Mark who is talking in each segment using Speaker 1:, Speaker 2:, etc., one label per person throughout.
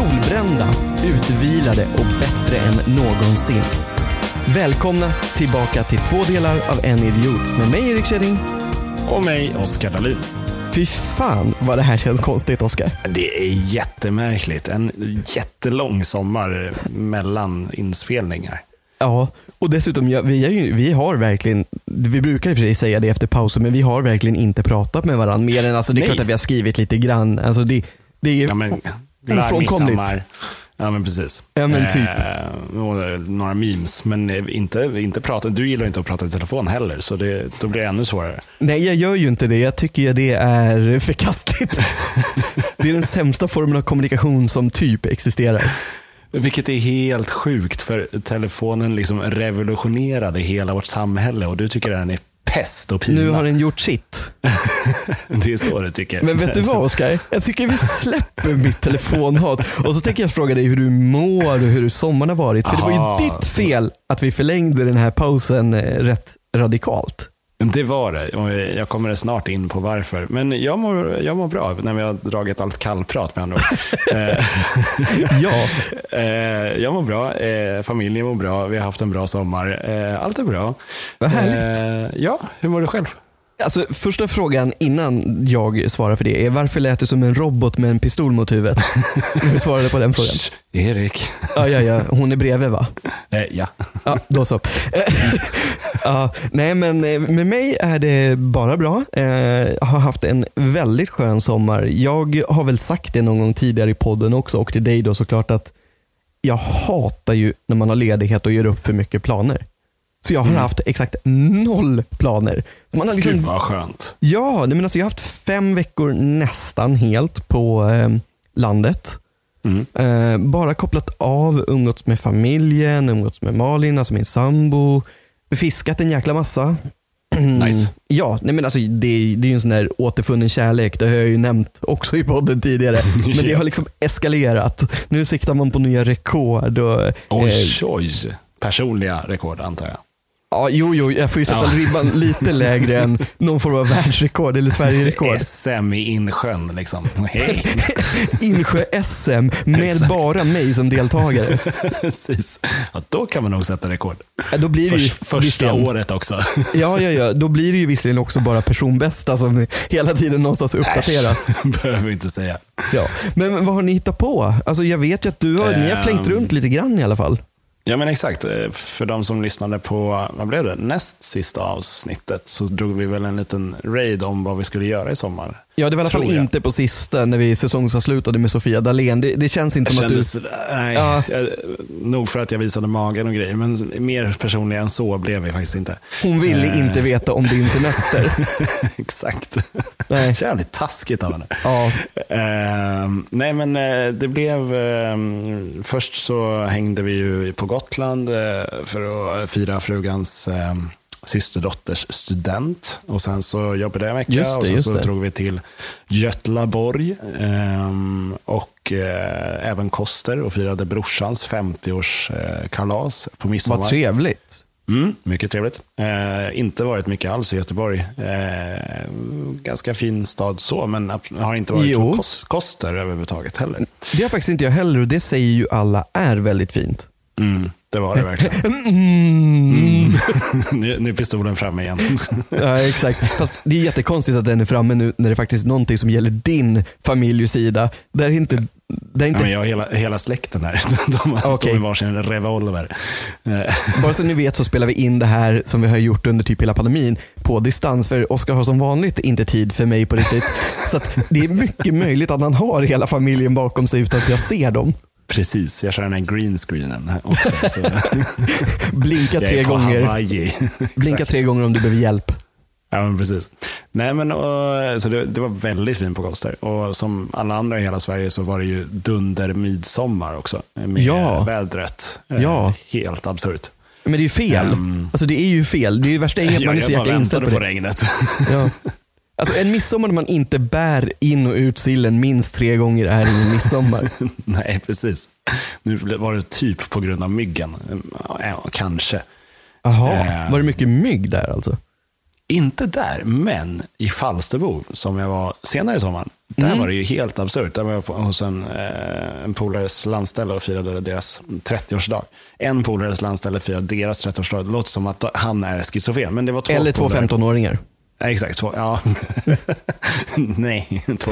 Speaker 1: återvända, utvilade och bättre än någonsin. Välkomna tillbaka till två delar av En Idiot med mig Erik Kjellin.
Speaker 2: Och mig, Oskar Dahlin.
Speaker 1: Fy fan vad det här känns konstigt Oskar.
Speaker 2: Det är jättemärkligt. En jättelång sommar mellan inspelningar.
Speaker 1: Ja, och dessutom, ja, vi, är ju, vi har verkligen, vi brukar i och för sig säga det efter pauser, men vi har verkligen inte pratat med varandra mer än, alltså det är
Speaker 2: Nej.
Speaker 1: klart att vi har skrivit lite grann. Alltså det, det är ju
Speaker 2: Ja, men,
Speaker 1: ofrånkomligt.
Speaker 2: midsommar. Ja, men precis.
Speaker 1: Ja, men typ.
Speaker 2: Eh, och några memes, men eh, inte, inte prata. Du gillar inte att prata i telefon heller, så det, då blir det ännu svårare.
Speaker 1: Nej, jag gör ju inte det. Jag tycker ju det är förkastligt. det är den sämsta formen av kommunikation som typ existerar.
Speaker 2: Vilket är helt sjukt, för telefonen liksom revolutionerade hela vårt samhälle och du tycker den är pest och pina.
Speaker 1: Nu har den gjort sitt.
Speaker 2: Det är så du tycker.
Speaker 1: Men vet du vad Oskar? Jag tycker vi släpper mitt telefonhat. Och så tänker jag fråga dig hur du mår och hur sommaren har varit. För det var
Speaker 2: Aha,
Speaker 1: ju ditt fel att vi förlängde den här pausen eh, rätt radikalt.
Speaker 2: Det var det. Och Jag kommer snart in på varför. Men jag mår, jag mår bra när vi har dragit allt kallprat med andra ord. Eh,
Speaker 1: Ja,
Speaker 2: eh, jag mår bra, eh, familjen mår bra, vi har haft en bra sommar. Eh, Allt är bra.
Speaker 1: Vad
Speaker 2: Eh, Ja, hur mår du själv?
Speaker 1: alltså första frågan innan jag svarar för det är varför lät du som en robot med en pistol mot huvudet? Hur svarade du på den frågan?
Speaker 2: Shh, Erik.
Speaker 1: Ja, ja, ja. Hon är bredvid va?
Speaker 2: Eh, ja.
Speaker 1: Ja, då så. Eh, ja, nej, men eh, med mig är det bara bra. Eh, Jag har haft en väldigt skön sommar. Jag har väl sagt det någon gång tidigare i podden också och till dig då såklart att jag hatar ju när man har ledighet och gör upp för mycket planer. Så jag har haft exakt noll planer. Man har
Speaker 2: Mm. Gud
Speaker 1: liksom,
Speaker 2: vad skönt.
Speaker 1: ja, nej, men alltså jag har haft fem veckor nästan helt på eh, landet.
Speaker 2: Mm.
Speaker 1: Eh, bara kopplat av, umgåtts med familjen, umgåtts med Malin, alltså min sambo. Fiskat en jäkla massa.
Speaker 2: Nice.
Speaker 1: Ja, nej men alltså, det, är- det är ju en sån där återfunnen kärlek. Det har jag ju nämnt också i podden tidigare. Men det har liksom eskalerat. Nu siktar man på nya rekord. Och, eh,
Speaker 2: Oj, oj. Personliga rekord antar jag.
Speaker 1: ja, jo, jo, jag får ju sätta
Speaker 2: Ja.
Speaker 1: ribban lite lägre än någon form av världsrekord eller Sverigerekord.
Speaker 2: SM i insjön liksom. Hej.
Speaker 1: Eh. Insjö-SM med bara mig som deltagare.
Speaker 2: Precis. Ja, då kan man nog sätta rekord.
Speaker 1: Ja, Äh, Då blir det ju
Speaker 2: Förs- första
Speaker 1: visserligen-
Speaker 2: året också.
Speaker 1: Ja, ja, ja. Då blir det ju visserligen också bara personbästa som hela tiden någonstans uppdateras.
Speaker 2: Äsch, Behöver vi inte säga.
Speaker 1: Ja. Men vad har ni hittat på? Alltså, jag vet ju att du har, ni har
Speaker 2: Ehm.
Speaker 1: flängt runt lite grann i alla fall.
Speaker 2: Ja men exakt, Eh, för de som lyssnade på, vad blev det, näst sista avsnittet så drog vi väl en liten raid om vad vi skulle göra i sommar.
Speaker 1: Ja, det var i alla fall
Speaker 2: Tror jag.
Speaker 1: inte på sista när vi säsongsavslutade med Sofia Dalén. Det, det känns inte
Speaker 2: Det
Speaker 1: som att du...
Speaker 2: kändes, nej,
Speaker 1: Ja.
Speaker 2: jag, nog för att jag visade magen och grejer, men mer personliga än så blev vi faktiskt inte.
Speaker 1: Hon ville
Speaker 2: Eh.
Speaker 1: inte veta om din semester.
Speaker 2: exakt.
Speaker 1: Nej.
Speaker 2: Så jävligt taskigt av henne.
Speaker 1: Ja.
Speaker 2: Ehm, nej men eh, det blev, ehm, först så hängde vi ju på Gotland eh, för att fira frugans eh, systerdotters student. Och sen så jobbade jag en vecka
Speaker 1: Just det,
Speaker 2: och sen
Speaker 1: just
Speaker 2: så
Speaker 1: det.
Speaker 2: drog vi till Götlaborg ehm, och eh, även Koster och firade brorsans 50-årskalas på midsommar.
Speaker 1: Vad trevligt.
Speaker 2: Mm, mycket trevligt. Eh, inte varit mycket alls i Göteborg. Eh, ganska fin stad så, men ab- har inte varit
Speaker 1: Jo.
Speaker 2: på kos- Koster överhuvudtaget heller.
Speaker 1: Det har faktiskt inte jag heller och det säger ju alla är väldigt fint.
Speaker 2: Mm, det var det verkligen.
Speaker 1: Mm.
Speaker 2: nu, nu är pistolen framme igen.
Speaker 1: Ja, exakt. Fast det är jättekonstigt att den är framme nu när det faktiskt är någonting som gäller din familj och sida. Där inte, där
Speaker 2: Ja,
Speaker 1: inte
Speaker 2: men jag har hela, hela släkten här. De har- står
Speaker 1: Okej.
Speaker 2: med varsin revolver. Eh,
Speaker 1: Bara så ni vet så spelar vi in det här som vi har gjort under typ hela pandemin på distans. För Oskar har som vanligt inte tid för mig på riktigt. Så att det är mycket möjligt att han har hela familjen bakom sig utan att jag ser dem.
Speaker 2: precis, jag kör den här green screenen också. Så.
Speaker 1: Blinka
Speaker 2: jag
Speaker 1: tre
Speaker 2: är på
Speaker 1: gånger.
Speaker 2: Hawaii.
Speaker 1: Blinka
Speaker 2: Exakt.
Speaker 1: tre gånger om du behöver hjälp.
Speaker 2: Ja, men precis. Nej, men, och, så det, det var väldigt fint på Koster. Och som alla andra i hela Sverige så var det ju dunder midsommar också. Med
Speaker 1: Ja.
Speaker 2: vädret. Eh,
Speaker 1: Ja.
Speaker 2: Helt absurt.
Speaker 1: Men det är ju fel.
Speaker 2: Ehm.
Speaker 1: Alltså det är ju fel. Det är ju värsta är att
Speaker 2: Jag,
Speaker 1: man är så
Speaker 2: jag bara
Speaker 1: jäkla
Speaker 2: väntade
Speaker 1: inställd
Speaker 2: på,
Speaker 1: på det.
Speaker 2: regnet.
Speaker 1: Ja. Alltså en midsommar när man inte bär in och ut sillen minst tre gånger är ingen midsommar.
Speaker 2: Nej, precis. Nu ble- var det typ på grund av myggen. Ja, kanske.
Speaker 1: Jaha,
Speaker 2: Ehm.
Speaker 1: var det mycket mygg där alltså?
Speaker 2: Inte där, men i Falsterbo, som jag var senare i sommaren. Där
Speaker 1: Mm.
Speaker 2: var det ju helt absurt. Där var jag på, hos en, eh, en polares landställe och firade deras 30-årsdag. En polares landställe firade deras 30-årsdag. Det låter som att han är schizofren, men det var två
Speaker 1: Eller två
Speaker 2: polare.
Speaker 1: 15-åringar.
Speaker 2: Ja, Exakt, två, ja. Nej, två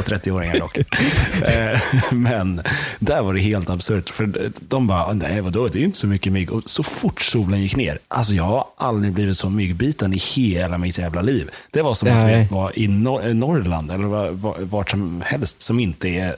Speaker 2: 30-åringar dock. Eh, Men där var det helt absurt. För de bara, nej vadå, det är inte så mycket mygg. Och så fort solen gick ner, alltså jag har aldrig blivit så myggbiten i hela mitt jävla liv. Det var som att
Speaker 1: Nej.
Speaker 2: vi var i Nor- eh, Norrland eller var- var- vart som helst som inte är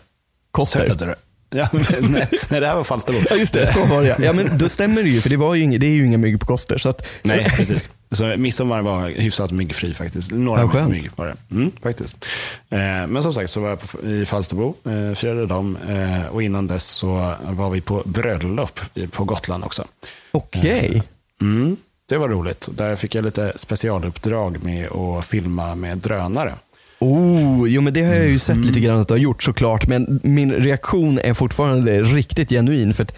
Speaker 1: Kotter.
Speaker 2: söder. Ja, men, nej, nej, det här var Falsterbo.
Speaker 1: Ja, just det. Så var det ja. ja men då stämmer det ju, för det, var ju inget, det är ju inga mygg på Koster. Så att,
Speaker 2: Nej, precis. Så midsommar var hyfsat myggfri faktiskt.
Speaker 1: Ja,
Speaker 2: Några
Speaker 1: skönt.
Speaker 2: mygg var det. Mm, faktiskt. Eh, men som sagt så var jag på, i Falsterbo, eh, firade dem eh, och innan dess så var vi på bröllop i- på Gotland också.
Speaker 1: Okej.
Speaker 2: Mm, det var roligt. Där fick jag lite specialuppdrag med att filma med drönare.
Speaker 1: Oh, jo men det har jag ju sett lite grann att du har gjort såklart. Men min reaktion är fortfarande riktigt genuin. För att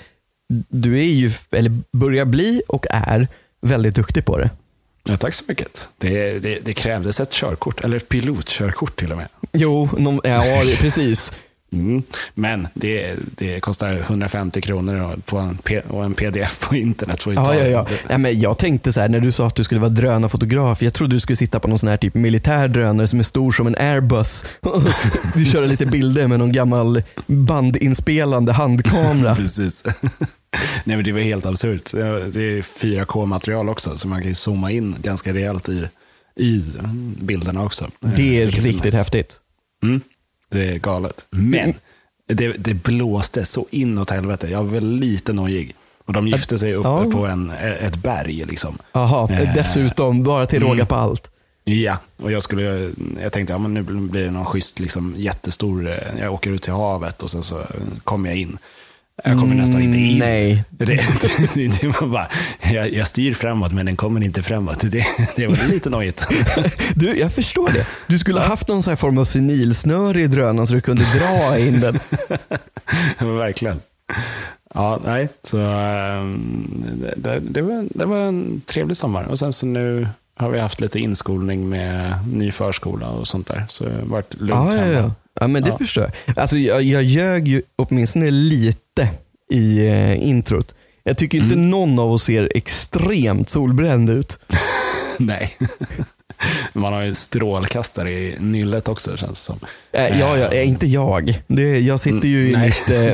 Speaker 1: du är ju, eller börjar bli och är, väldigt duktig på det.
Speaker 2: Ja, tack så mycket. Det, det, det krävdes ett körkort, eller ett pilotkörkort till och med.
Speaker 1: Jo, någon, ja det- precis.
Speaker 2: Mm. Men det, det kostar 150 kronor och- på en, P- och en pdf på internet. Får ju
Speaker 1: Ja,
Speaker 2: ta
Speaker 1: ja, ja. Nej, men jag tänkte så här, när du sa att du skulle vara drönarfotograf, jag trodde du skulle sitta på någon sån här typ militär drönare som är stor som en airbus. du köra lite bilder med någon gammal bandinspelande handkamera.
Speaker 2: Precis. Nej, men det var helt absurt. Det är 4K-material också, så man kan ju zooma in ganska rejält i, i bilderna också. Eh,
Speaker 1: Det är
Speaker 2: Vilket
Speaker 1: riktigt
Speaker 2: nice.
Speaker 1: häftigt.
Speaker 2: Mm, det är galet. Men det, det blåste så inåt helvete. Jag var väl lite nojig. Och de gifte sig uppe
Speaker 1: Ja.
Speaker 2: på en, ett berg. Liksom.
Speaker 1: Jaha,
Speaker 2: Eh,
Speaker 1: dessutom bara till råga på allt.
Speaker 2: Ja, och jag, skulle, jag tänkte ja, men nu blir det någon schysst liksom, jättestor, eh, jag åker ut till havet och sen så eh, kommer jag in. Jag kommer nästan inte in.
Speaker 1: Mm, nej.
Speaker 2: Det, det, det var bara, jag, jag styr framåt men den kommer inte framåt. Det, det var lite nojigt.
Speaker 1: Du, jag förstår det. Du skulle ha haft någon sån här form av senilsnöre i drönaren så du kunde dra in den.
Speaker 2: Verkligen. Ja, nej, så eh, det, det, det, var, det var en trevlig sommar. Och sen så nu har vi haft lite inskolning med ny förskola och sånt där. Så det har varit lugnt
Speaker 1: Ah, Ja, ja,
Speaker 2: hemma.
Speaker 1: ja. ja men det
Speaker 2: Ja.
Speaker 1: förstår jag. Alltså, jag. Jag ljög ju åtminstone lite i eh, introt. Jag tycker inte
Speaker 2: Mm.
Speaker 1: någon av oss ser extremt solbränd ut.
Speaker 2: Nej. Man har ju strålkastare i nyllet också känns det som.
Speaker 1: Äh, ja, ja, eh, inte jag. Det, jag sitter ju i
Speaker 2: Mm, nej.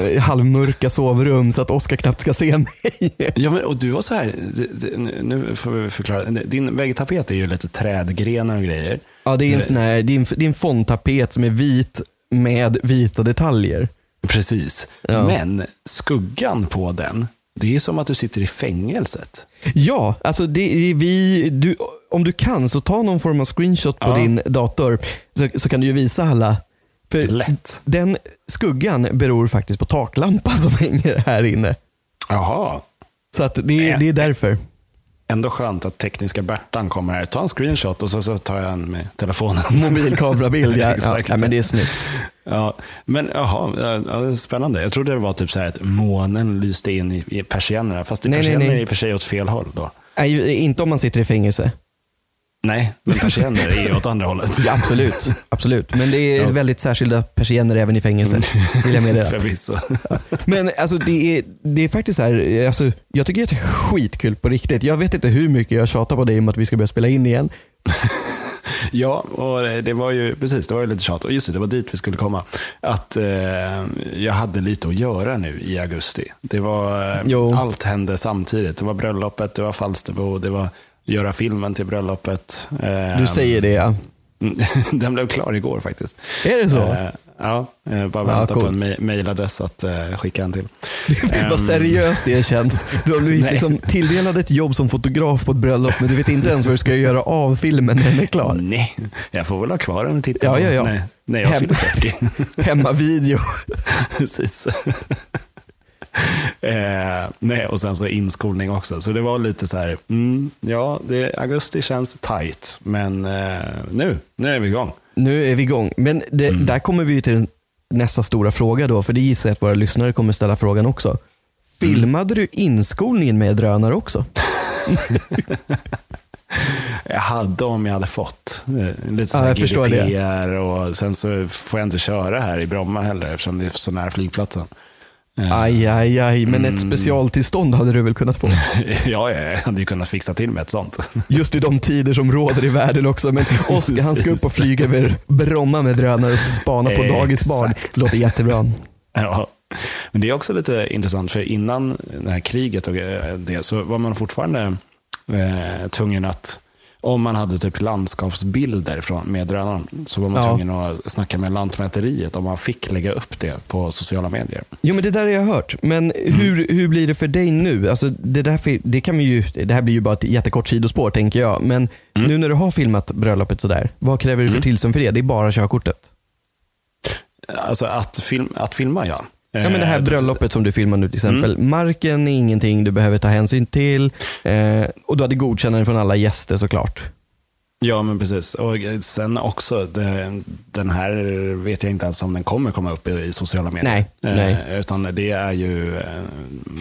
Speaker 1: mitt eh, halvmörka sovrum så att Oskar knappt ska se mig.
Speaker 2: Ja, men, och du var så här, det- det- nu- nu får vi förklara. Din väggtapet är ju lite trädgrenar och grejer.
Speaker 1: Ja, det är en, sån här, det är en, det är en fondtapet som är vit med vita detaljer.
Speaker 2: Precis.
Speaker 1: Ja.
Speaker 2: Men skuggan på den, det är som att du sitter i fängelset.
Speaker 1: Ja, alltså det är vi, du, om du kan så ta någon form av screenshot på
Speaker 2: Ja.
Speaker 1: din dator så, så kan du ju visa alla. För
Speaker 2: Lätt.
Speaker 1: Den skuggan beror faktiskt på taklampan som hänger här inne.
Speaker 2: Jaha.
Speaker 1: Så att det, är-
Speaker 2: Äh.
Speaker 1: det är därför.
Speaker 2: Ändå skönt att tekniska Bertan kommer här. Ta en screenshot och så, så tar jag en med telefonen.
Speaker 1: Mobilkamerabild, ja. ja,
Speaker 2: Exakt.
Speaker 1: ja men det är snyggt.
Speaker 2: Ja, men jaha, ja, ja, spännande. Jag trodde det var typ så här att månen lyste in i, i persiennerna. Fast det
Speaker 1: Nej, nej,
Speaker 2: persienner
Speaker 1: nej.
Speaker 2: är i och för sig åt fel håll då.
Speaker 1: Nej, inte om man sitter i fängelse.
Speaker 2: Nej, men persienner är ju åt andra hållet.
Speaker 1: Ja, absolut. absolut. Men det är väldigt särskilda persienner även i fängelse, vill jag meddela.
Speaker 2: Förvisso.
Speaker 1: Men alltså det är, det är faktiskt så här, alltså, jag tycker att det är skitkul på riktigt. Jag vet inte hur mycket jag tjatar på dig om att vi ska börja spela in igen.
Speaker 2: Ja, och det var ju precis, det var ju lite tjat. Och just det, det var dit vi skulle komma. Att eh, jag hade lite att göra nu i augusti. Det var, eh,
Speaker 1: Jo.
Speaker 2: allt hände samtidigt. Det var bröllopet, det var Falsterbo, det var göra filmen till bröllopet. Eh,
Speaker 1: Du säger det ja.
Speaker 2: Mm. Den blev klar igår faktiskt.
Speaker 1: Är det så?
Speaker 2: Eh, ja, eh, bara vänta på
Speaker 1: coolt.
Speaker 2: en mej- mejladress att eh, skicka en till.
Speaker 1: Vad seriöst det känns. Du har blivit
Speaker 2: Ehm. Nej.
Speaker 1: liksom tilldelad ett jobb som fotograf på ett bröllop men du vet inte ens vad du ska göra av filmen när den är klar.
Speaker 2: Nej, jag får väl ha kvar den och titta
Speaker 1: Ja,
Speaker 2: på.
Speaker 1: ja, ja.
Speaker 2: Nej, nej, jag
Speaker 1: Hem.
Speaker 2: fyller 40.
Speaker 1: Hemmavideo.
Speaker 2: Precis. eh, nej, och sen så inskolning också. Så det var lite så här, mm, ja, det, augusti känns tight, men eh, nu, nu är vi igång.
Speaker 1: Nu är vi igång. Men det,
Speaker 2: Mm.
Speaker 1: där kommer vi ju till nästa stora fråga då, för det gissar jag att våra lyssnare kommer ställa frågan också. Filmade du inskolningen med drönare också?
Speaker 2: jag hade om jag hade fått. Eh, Lite så
Speaker 1: Ja,
Speaker 2: här
Speaker 1: jag förstår det.
Speaker 2: GDPR och sen så får jag inte köra här i Bromma heller eftersom det är så nära flygplatsen. Eh,
Speaker 1: Aj, aj, aj, men
Speaker 2: Mm.
Speaker 1: ett specialtillstånd hade du väl kunnat få?
Speaker 2: ja, jag hade ju kunnat fixa till med ett sånt.
Speaker 1: Just i de tider som råder i världen också. Men Oskar han ska upp och
Speaker 2: Precis.
Speaker 1: flyga över Bromma med drönare och spana på dagisbarn. Det låter jättebra.
Speaker 2: Ja. Men det är också lite intressant, för innan det här kriget och eh, det så var man fortfarande eh, tvungen att, om man hade typ landskapsbilder från, med drönaren, så var man
Speaker 1: Ja.
Speaker 2: tvungen att snacka med Lantmäteriet om man fick lägga upp det på sociala medier.
Speaker 1: Jo men det där har jag hört. Men hur, hur blir det för dig nu? Alltså, det, där, fi- det, kan vi ju, det här blir ju bara ett jättekort sidospår tänker jag. Men nu när du har filmat bröllopet sådär, vad kräver du för tillstånd för det? Det är bara körkortet.
Speaker 2: Alltså att, film, att filma, ja.
Speaker 1: Ja, men det Mm. här
Speaker 2: Eh,
Speaker 1: bröllopet som du filmar nu till exempel. Marken är ingenting du behöver ta hänsyn till. Eh, och du hade godkännande från alla gäster såklart.
Speaker 2: Ja, men precis. Och sen också, det, den här vet jag inte ens om den kommer komma upp i, i sociala medier. Eh,
Speaker 1: Nej, nej.
Speaker 2: Utan det är ju eh,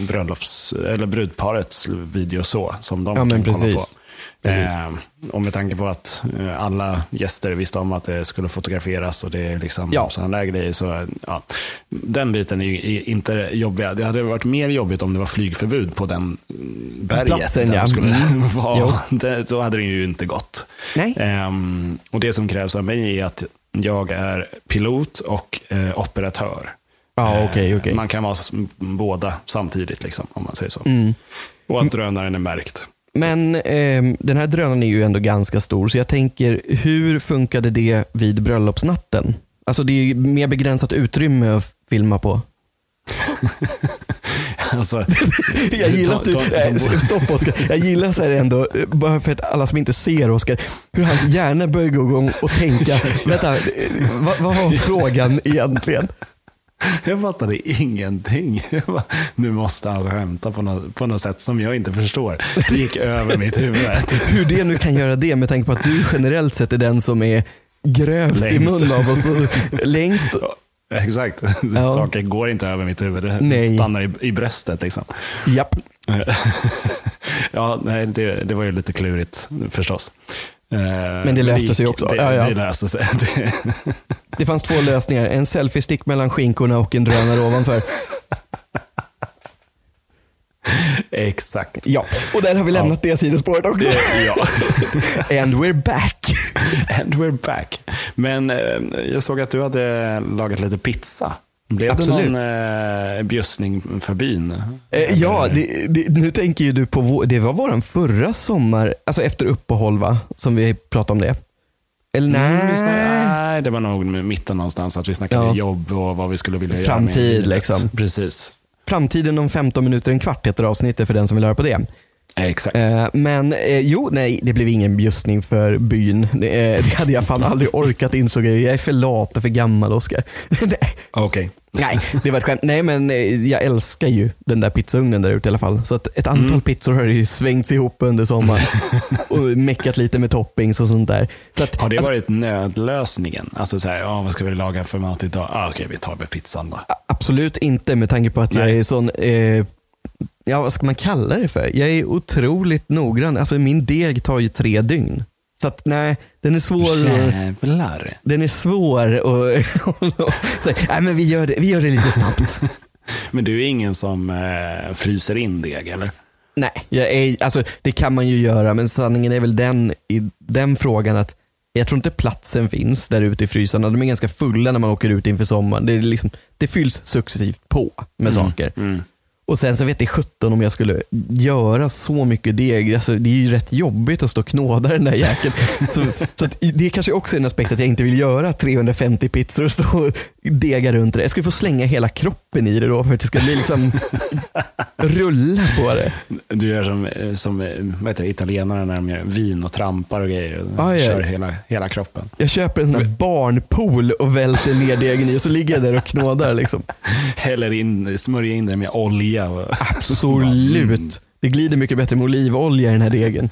Speaker 2: bröllops, eller brudparets video så, som de
Speaker 1: Ja,
Speaker 2: kan
Speaker 1: men
Speaker 2: kolla på.
Speaker 1: precis. Precis.
Speaker 2: Eh, och med tanke på att eh, alla gäster visste om att det skulle fotograferas och det är liksom
Speaker 1: Ja.
Speaker 2: sådana där grejer. Så, eh, ja. Den biten är ju i- inte jobbig. Det hade varit mer jobbigt om det var flygförbud på den mm, berget.
Speaker 1: Platsen,
Speaker 2: där
Speaker 1: ja.
Speaker 2: de skulle
Speaker 1: Mm.
Speaker 2: vara. Det, då hade det ju inte gått.
Speaker 1: Nej.
Speaker 2: Ehm, och det som krävs av mig är att jag är pilot och eh, operatör. Ehm,
Speaker 1: Ja, okej, okej.
Speaker 2: Man kan vara s- båda samtidigt, liksom, om man säger så.
Speaker 1: Mm.
Speaker 2: Och att drönaren är märkt.
Speaker 1: Men ehm, den här drönaren är ju ändå ganska stor, så jag tänker, hur funkade det vid bröllopsnatten? Alltså det är ju mer begränsat utrymme att filma på.
Speaker 2: Alltså,
Speaker 1: Jag gillar att du,
Speaker 2: Ta- ta- ta-
Speaker 1: eh, stopp Oskar, jag gillar så här ändå, eh, bara för att alla som inte ser Oskar, hur hans hjärna börjar gå igång och tänka, vänta, eh, vad, vad var frågan egentligen?
Speaker 2: jag fattade ingenting. Jag bara, nu måste han skämta på något, på något sätt som jag inte förstår. Det gick över mitt huvud.
Speaker 1: Hur det nu kan göra det med tanke på att du generellt sett är den som är grövst i
Speaker 2: Längst.
Speaker 1: mun av oss och längst
Speaker 2: Ja, Exakt.
Speaker 1: Ja.
Speaker 2: Saker går inte över mitt huvud. Det
Speaker 1: Nej.
Speaker 2: stannar i, i bröstet. Liksom.
Speaker 1: Japp.
Speaker 2: ja, nej, det, det var ju lite klurigt förstås. Eh, Men
Speaker 1: det löste sig också.
Speaker 2: Det,
Speaker 1: Ja, ja.
Speaker 2: det löste sig. Det,
Speaker 1: Det fanns två lösningar. En selfiestick mellan skinkorna och en drönare ovanför.
Speaker 2: exakt.
Speaker 1: Ja, och där har vi lämnat det sidospåret också.
Speaker 2: Det, ja.
Speaker 1: And we're back.
Speaker 2: And we're back. Men eh, jag såg att du hade lagat lite pizza. Blev
Speaker 1: Absolut.
Speaker 2: det någon eh, bjussning för byn?
Speaker 1: Eh, ja, det, det, nu tänker ju du på, vår, det var våran förra sommar, alltså efter uppehåll va, som vi pratade om det. Eller
Speaker 2: Mm, vi snack-
Speaker 1: nej,
Speaker 2: Nej, det var nog med mitten någonstans. Att vi snackade
Speaker 1: Ja.
Speaker 2: jobb och vad vi skulle vilja göra.
Speaker 1: Framtid,
Speaker 2: med livet.
Speaker 1: liksom.
Speaker 2: Precis.
Speaker 1: framtiden om 15 minuter, en kvart heter avsnittet för den som vill höra på det.
Speaker 2: Exakt.
Speaker 1: Eh, men eh, jo, nej, det blev ingen bjussning för byn. Det, eh, det hade jag fan aldrig orkat insåg jag. Jag är för lat och för gammal Oskar. nej.
Speaker 2: Okej.
Speaker 1: Nej, det var ett skämt. Nej, men eh, jag älskar ju den där pizzaugnen där ute i alla fall. Så att ett antal pizzor har ju svängts ihop under sommaren och meckat lite med toppings och sånt där. Så att,
Speaker 2: Har det
Speaker 1: alltså,
Speaker 2: varit nödlösningen? Alltså så här, ja, vad ska vi laga för mat idag? Ah, Okej, vi tar med pizzan då.
Speaker 1: Absolut inte med tanke på att jag
Speaker 2: Nej.
Speaker 1: är sån, eh, ja vad ska man kalla det för? Jag är otroligt noggrann. Alltså min deg tar ju tre dygn. Så att nej, den är svår. att-
Speaker 2: Jävlar.
Speaker 1: Den är svår och, så, nej men vi gör det, vi gör det lite snabbt.
Speaker 2: Men du är ingen som eh, fryser in deg, eller?
Speaker 1: Nej, jag är, alltså, det kan man ju göra, men sanningen är väl den i den frågan att jag tror inte platsen finns där ute i frysarna. De är ganska fulla när man åker ut inför sommaren. Det, är liksom, det fylls successivt på med
Speaker 2: Mm.
Speaker 1: saker. Och sen så vet jag sjutton om jag skulle göra så mycket deg. Alltså, det är ju rätt jobbigt att stå och knåda den där jäkeln. så så att, det kanske också är en aspekt att jag inte vill göra 350 pizzor och stå och dega runt det. Jag skulle få slänga hela kroppen i det då för att det ska bli liksom rulla på det.
Speaker 2: Mm. Du gör som, eh, som eh, vad heter det, italienarna när de gör vin och trampar och grejer.
Speaker 1: Ah, ja.
Speaker 2: Kör hela, hela kroppen.
Speaker 1: Jag köper en sån här barnpool och välter ner degen i och så ligger jag där och knådar. Liksom.
Speaker 2: Häller in, smörjer in det med olja. Och
Speaker 1: Absolut. Det glider mycket bättre med olivolja i den här degen.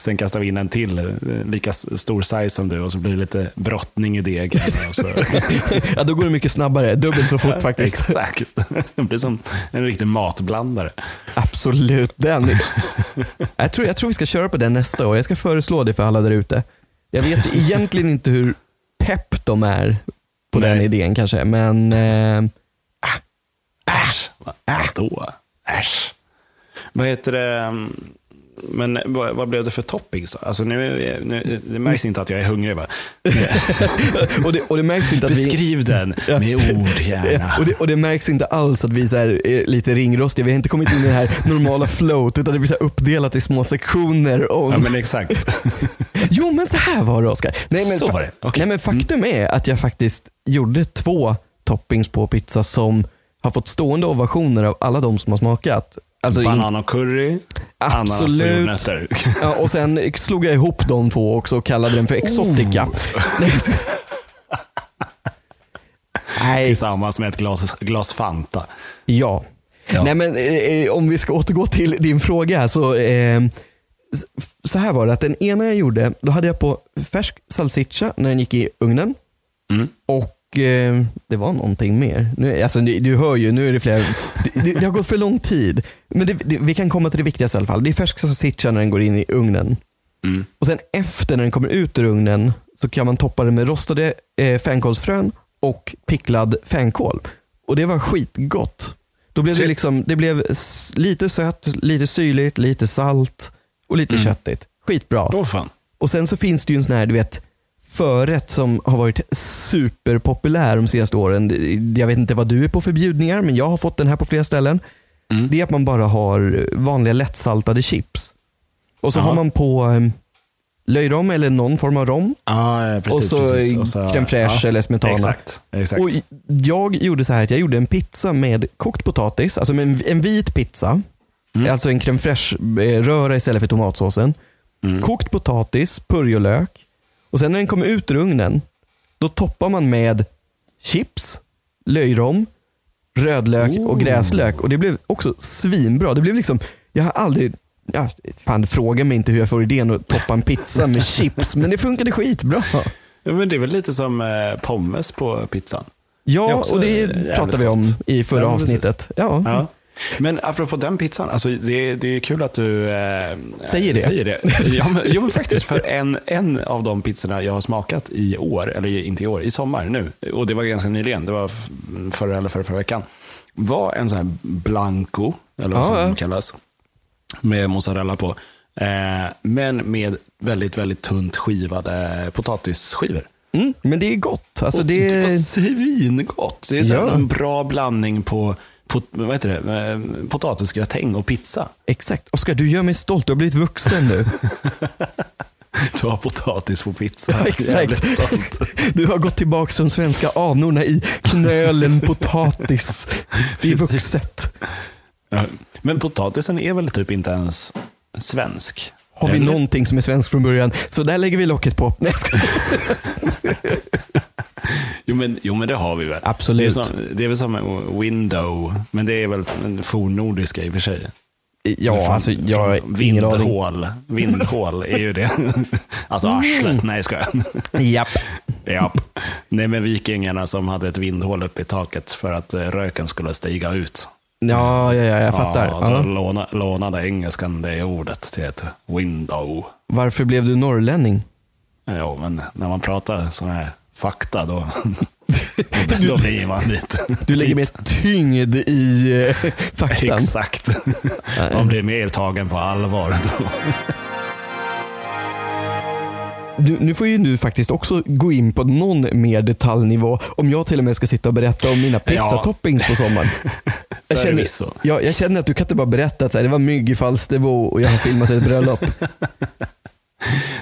Speaker 2: Sen kastar vi in en till, eh, lika s- stor size som du och så blir det lite brottning i degen. Och så.
Speaker 1: ja, då går det mycket snabbare. Dubbelt så fort faktiskt.
Speaker 2: Exakt. Det blir som en riktig matblandare.
Speaker 1: Absolut den. Jag tror, jag tror vi ska köra på den nästa år. Jag ska föreslå det för alla där ute. Jag vet egentligen inte hur pepp de är på den
Speaker 2: Nej.
Speaker 1: idén kanske, men eh,
Speaker 2: Äsch.
Speaker 1: Äh.
Speaker 2: Vadå? Äsch. Vad heter det? Men vad, vad blev det för toppings då? Alltså nu, är- nu, det märks inte att jag är hungrig va?
Speaker 1: och, det, och det märks inte att vi...
Speaker 2: Beskriv den med ord gärna.
Speaker 1: Eh, Och det, och det märks inte alls att vi så här är lite ringrostiga. Vi har inte kommit in i det här normala flowet utan det blir så här uppdelat i små sektioner. Om...
Speaker 2: Ja men exakt.
Speaker 1: Jo men så här var det Oskar. Nej, men
Speaker 2: Så
Speaker 1: fa-
Speaker 2: var det. Okej. Mm.
Speaker 1: Nej, men faktum är att jag faktiskt gjorde två toppings på pizza som har fått stående ovationer av alla de som har smakat. Alltså, in-
Speaker 2: Banan och curry, ananas och
Speaker 1: Absolut.
Speaker 2: jordnötter.
Speaker 1: ja, och sen slog jag ihop de två också och kallade den för
Speaker 2: Oh.
Speaker 1: exotica. Nej, jag ska- Nej,
Speaker 2: Tillsammans med ett glas, glas Fanta.
Speaker 1: Ja.
Speaker 2: Ja.
Speaker 1: Nej men eh, eh, om vi ska återgå till din fråga här, så, eh, s- f- så här var det att den ena jag gjorde, då hade jag på färsk salsiccia när den gick i ugnen. Och eh, det var någonting mer. Nu, alltså, du, du hör ju, nu är det flera, det, det- det har gått för lång tid. Men det, det, vi kan komma till det viktigaste i alla fall. Det är färsk salsiccia när den går in i ugnen. Och sen efter när den kommer ut ur ugnen så kan man toppa den med rostade eh, fänkålsfrön och picklad fänkål. Och det var skitgott. Då blev det,
Speaker 2: Shit.
Speaker 1: liksom, det blev s- lite sött, lite syrligt, lite salt och lite köttigt. Skitbra.
Speaker 2: Åh fan.
Speaker 1: Och sen så finns det ju en sån här, du vet, förrätt som har varit superpopulär de senaste åren. Jag vet inte vad du är på för bjudningar, men jag har fått den här på flera ställen.
Speaker 2: Mm.
Speaker 1: Det är att man bara har vanliga lättsaltade chips. Och så
Speaker 2: Jaha.
Speaker 1: har man på eh, löjrom eller någon form av rom.
Speaker 2: Ja, eh, precis.
Speaker 1: och så,
Speaker 2: precis.
Speaker 1: eh, crème fraîche eller smetana.
Speaker 2: Exakt. exakt.
Speaker 1: Och jag gjorde så här att jag gjorde en pizza med kokt potatis, alltså med en, en vit pizza. Alltså en crème fraîche eh, röra istället för tomatsåsen. Kokt potatis, purjolök. Och sen när den kommer ut ur ugnen, då toppar man med chips, löjrom, rödlök och gräslök. Och det blev också svinbra. Det blev liksom, jag har aldrig, ja, fan fråga mig inte hur jag får idén att toppa en pizza med chips, men det funkade skitbra.
Speaker 2: Ja, men det är väl lite som eh, pommes på pizzan. Det är
Speaker 1: Ja,
Speaker 2: också
Speaker 1: och det
Speaker 2: jävligt
Speaker 1: pratade vi om
Speaker 2: gott.
Speaker 1: i förra
Speaker 2: Ja, men precis.
Speaker 1: avsnittet. Ja.
Speaker 2: Ja. Mm. Men apropå den pizzan, alltså det, det är kul att du eh,
Speaker 1: Säger det.
Speaker 2: Säger det. Ja, men, jo, men faktiskt, för en, en av de pizzorna jag har smakat i år, eller inte i år, i sommar nu, och det var ganska nyligen, det var f- förra eller förra, förra veckan, var en sån här blanco, eller vad
Speaker 1: Ja,
Speaker 2: fan
Speaker 1: ja.
Speaker 2: den kallas, med mozzarella på, eh, men med väldigt, väldigt tunt skivade potatisskivor.
Speaker 1: Mm, men det är gott. Alltså
Speaker 2: Och det...
Speaker 1: det,
Speaker 2: var svingott. Det är så här
Speaker 1: Ja.
Speaker 2: en bra blandning på, på vad heter det, Eh, potatisgratäng och pizza.
Speaker 1: Exakt. Oskar, du gör mig stolt. Du har blivit vuxen nu.
Speaker 2: Du har potatis på pizza. Jag är
Speaker 1: Exakt.
Speaker 2: jävligt stolt.
Speaker 1: Du har gått tillbaka till de svenska anorna i knölen potatis. Det är
Speaker 2: Precis.
Speaker 1: vuxet.
Speaker 2: Ja. Men potatisen är väl typ inte ens svensk?
Speaker 1: Har vi
Speaker 2: Eller?
Speaker 1: någonting som är svenskt från början, så där lägger vi locket på. Nej, jag skojar.
Speaker 2: Jo men, jo, men det har vi väl.
Speaker 1: Absolut.
Speaker 2: Det är, som, det är väl som en window, men det är väl en fornnordiska i och för sig.
Speaker 1: ja,
Speaker 2: Fan,
Speaker 1: alltså jag har
Speaker 2: från
Speaker 1: ingen aning.
Speaker 2: Vindhål. Vindhål är ju det. Alltså arslet. Nej, ska jag
Speaker 1: Japp.
Speaker 2: Ja. Nej, men vikingarna som hade ett vindhål uppe i taket för att eh, röken skulle stiga ut.
Speaker 1: Ja, ja, ja, jag fattar.
Speaker 2: Ja, då
Speaker 1: Ja.
Speaker 2: låna, lånade engelskan det ordet till ett window.
Speaker 1: Varför blev du norrlänning?
Speaker 2: Ja, men när man pratar sådana här fakta då, då blir man lite...
Speaker 1: Du lägger mer tyngd i eh, faktan.
Speaker 2: Exakt. Man blir mer tagen på allvar då.
Speaker 1: Du, nu får ju du faktiskt också gå in på någon mer detaljnivå om jag till och med ska sitta och berätta om mina pizzatoppings på sommaren. Jag känner,
Speaker 2: Förvisso.
Speaker 1: jag, jag känner att du kan inte bara berätta att så här, det var mygg i Falsterbo och jag har filmat ett bröllop.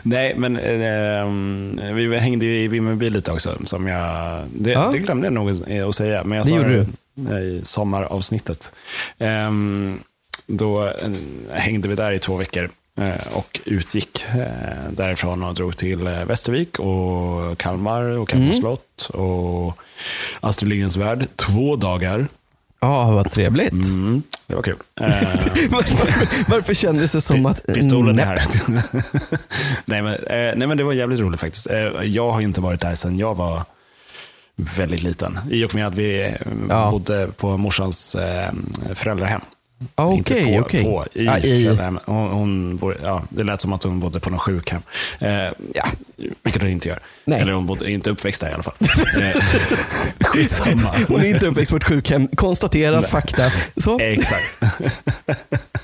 Speaker 2: Nej, men eh, vi hängde ju i Vimmerby lite också. Som jag, det,
Speaker 1: Ja.
Speaker 2: det glömde jag nog eh, att säga, men jag
Speaker 1: Det
Speaker 2: sa
Speaker 1: gjorde
Speaker 2: det i sommaravsnittet. Ehm, då eh, hängde vi där i två veckor eh, och utgick eh, därifrån och drog till eh, Västervik och Kalmar och
Speaker 1: Mm.
Speaker 2: Kalmar slott och Astrid Lindgrens värld. Två dagar.
Speaker 1: Ja, vad trevligt.
Speaker 2: Mm. Det var kul. Eh,
Speaker 1: varför, varför kändes det som att...
Speaker 2: Pistolen är
Speaker 1: Nej.
Speaker 2: här. nej, men, eh, nej, men det var jävligt roligt faktiskt. Eh, jag har ju inte varit där sedan jag var väldigt liten. I och med att vi eh,
Speaker 1: Ja.
Speaker 2: bodde på morsans eh, föräldrahem.
Speaker 1: Ah,
Speaker 2: Inte
Speaker 1: Okej,
Speaker 2: på,
Speaker 1: okej.
Speaker 2: på, i
Speaker 1: Ah, i-
Speaker 2: föräldrahem. Hon, hon bor, ja, det lät som att hon bodde på någon sjukhem. Eh, ja, vilket hon inte gör.
Speaker 1: Nej.
Speaker 2: Eller hon bodde, är inte uppväxt där i alla fall. Eh, Skitsamma.
Speaker 1: Hon är inte uppväxt på ett sjukhem. Konstaterat fakta. Så,
Speaker 2: Exakt.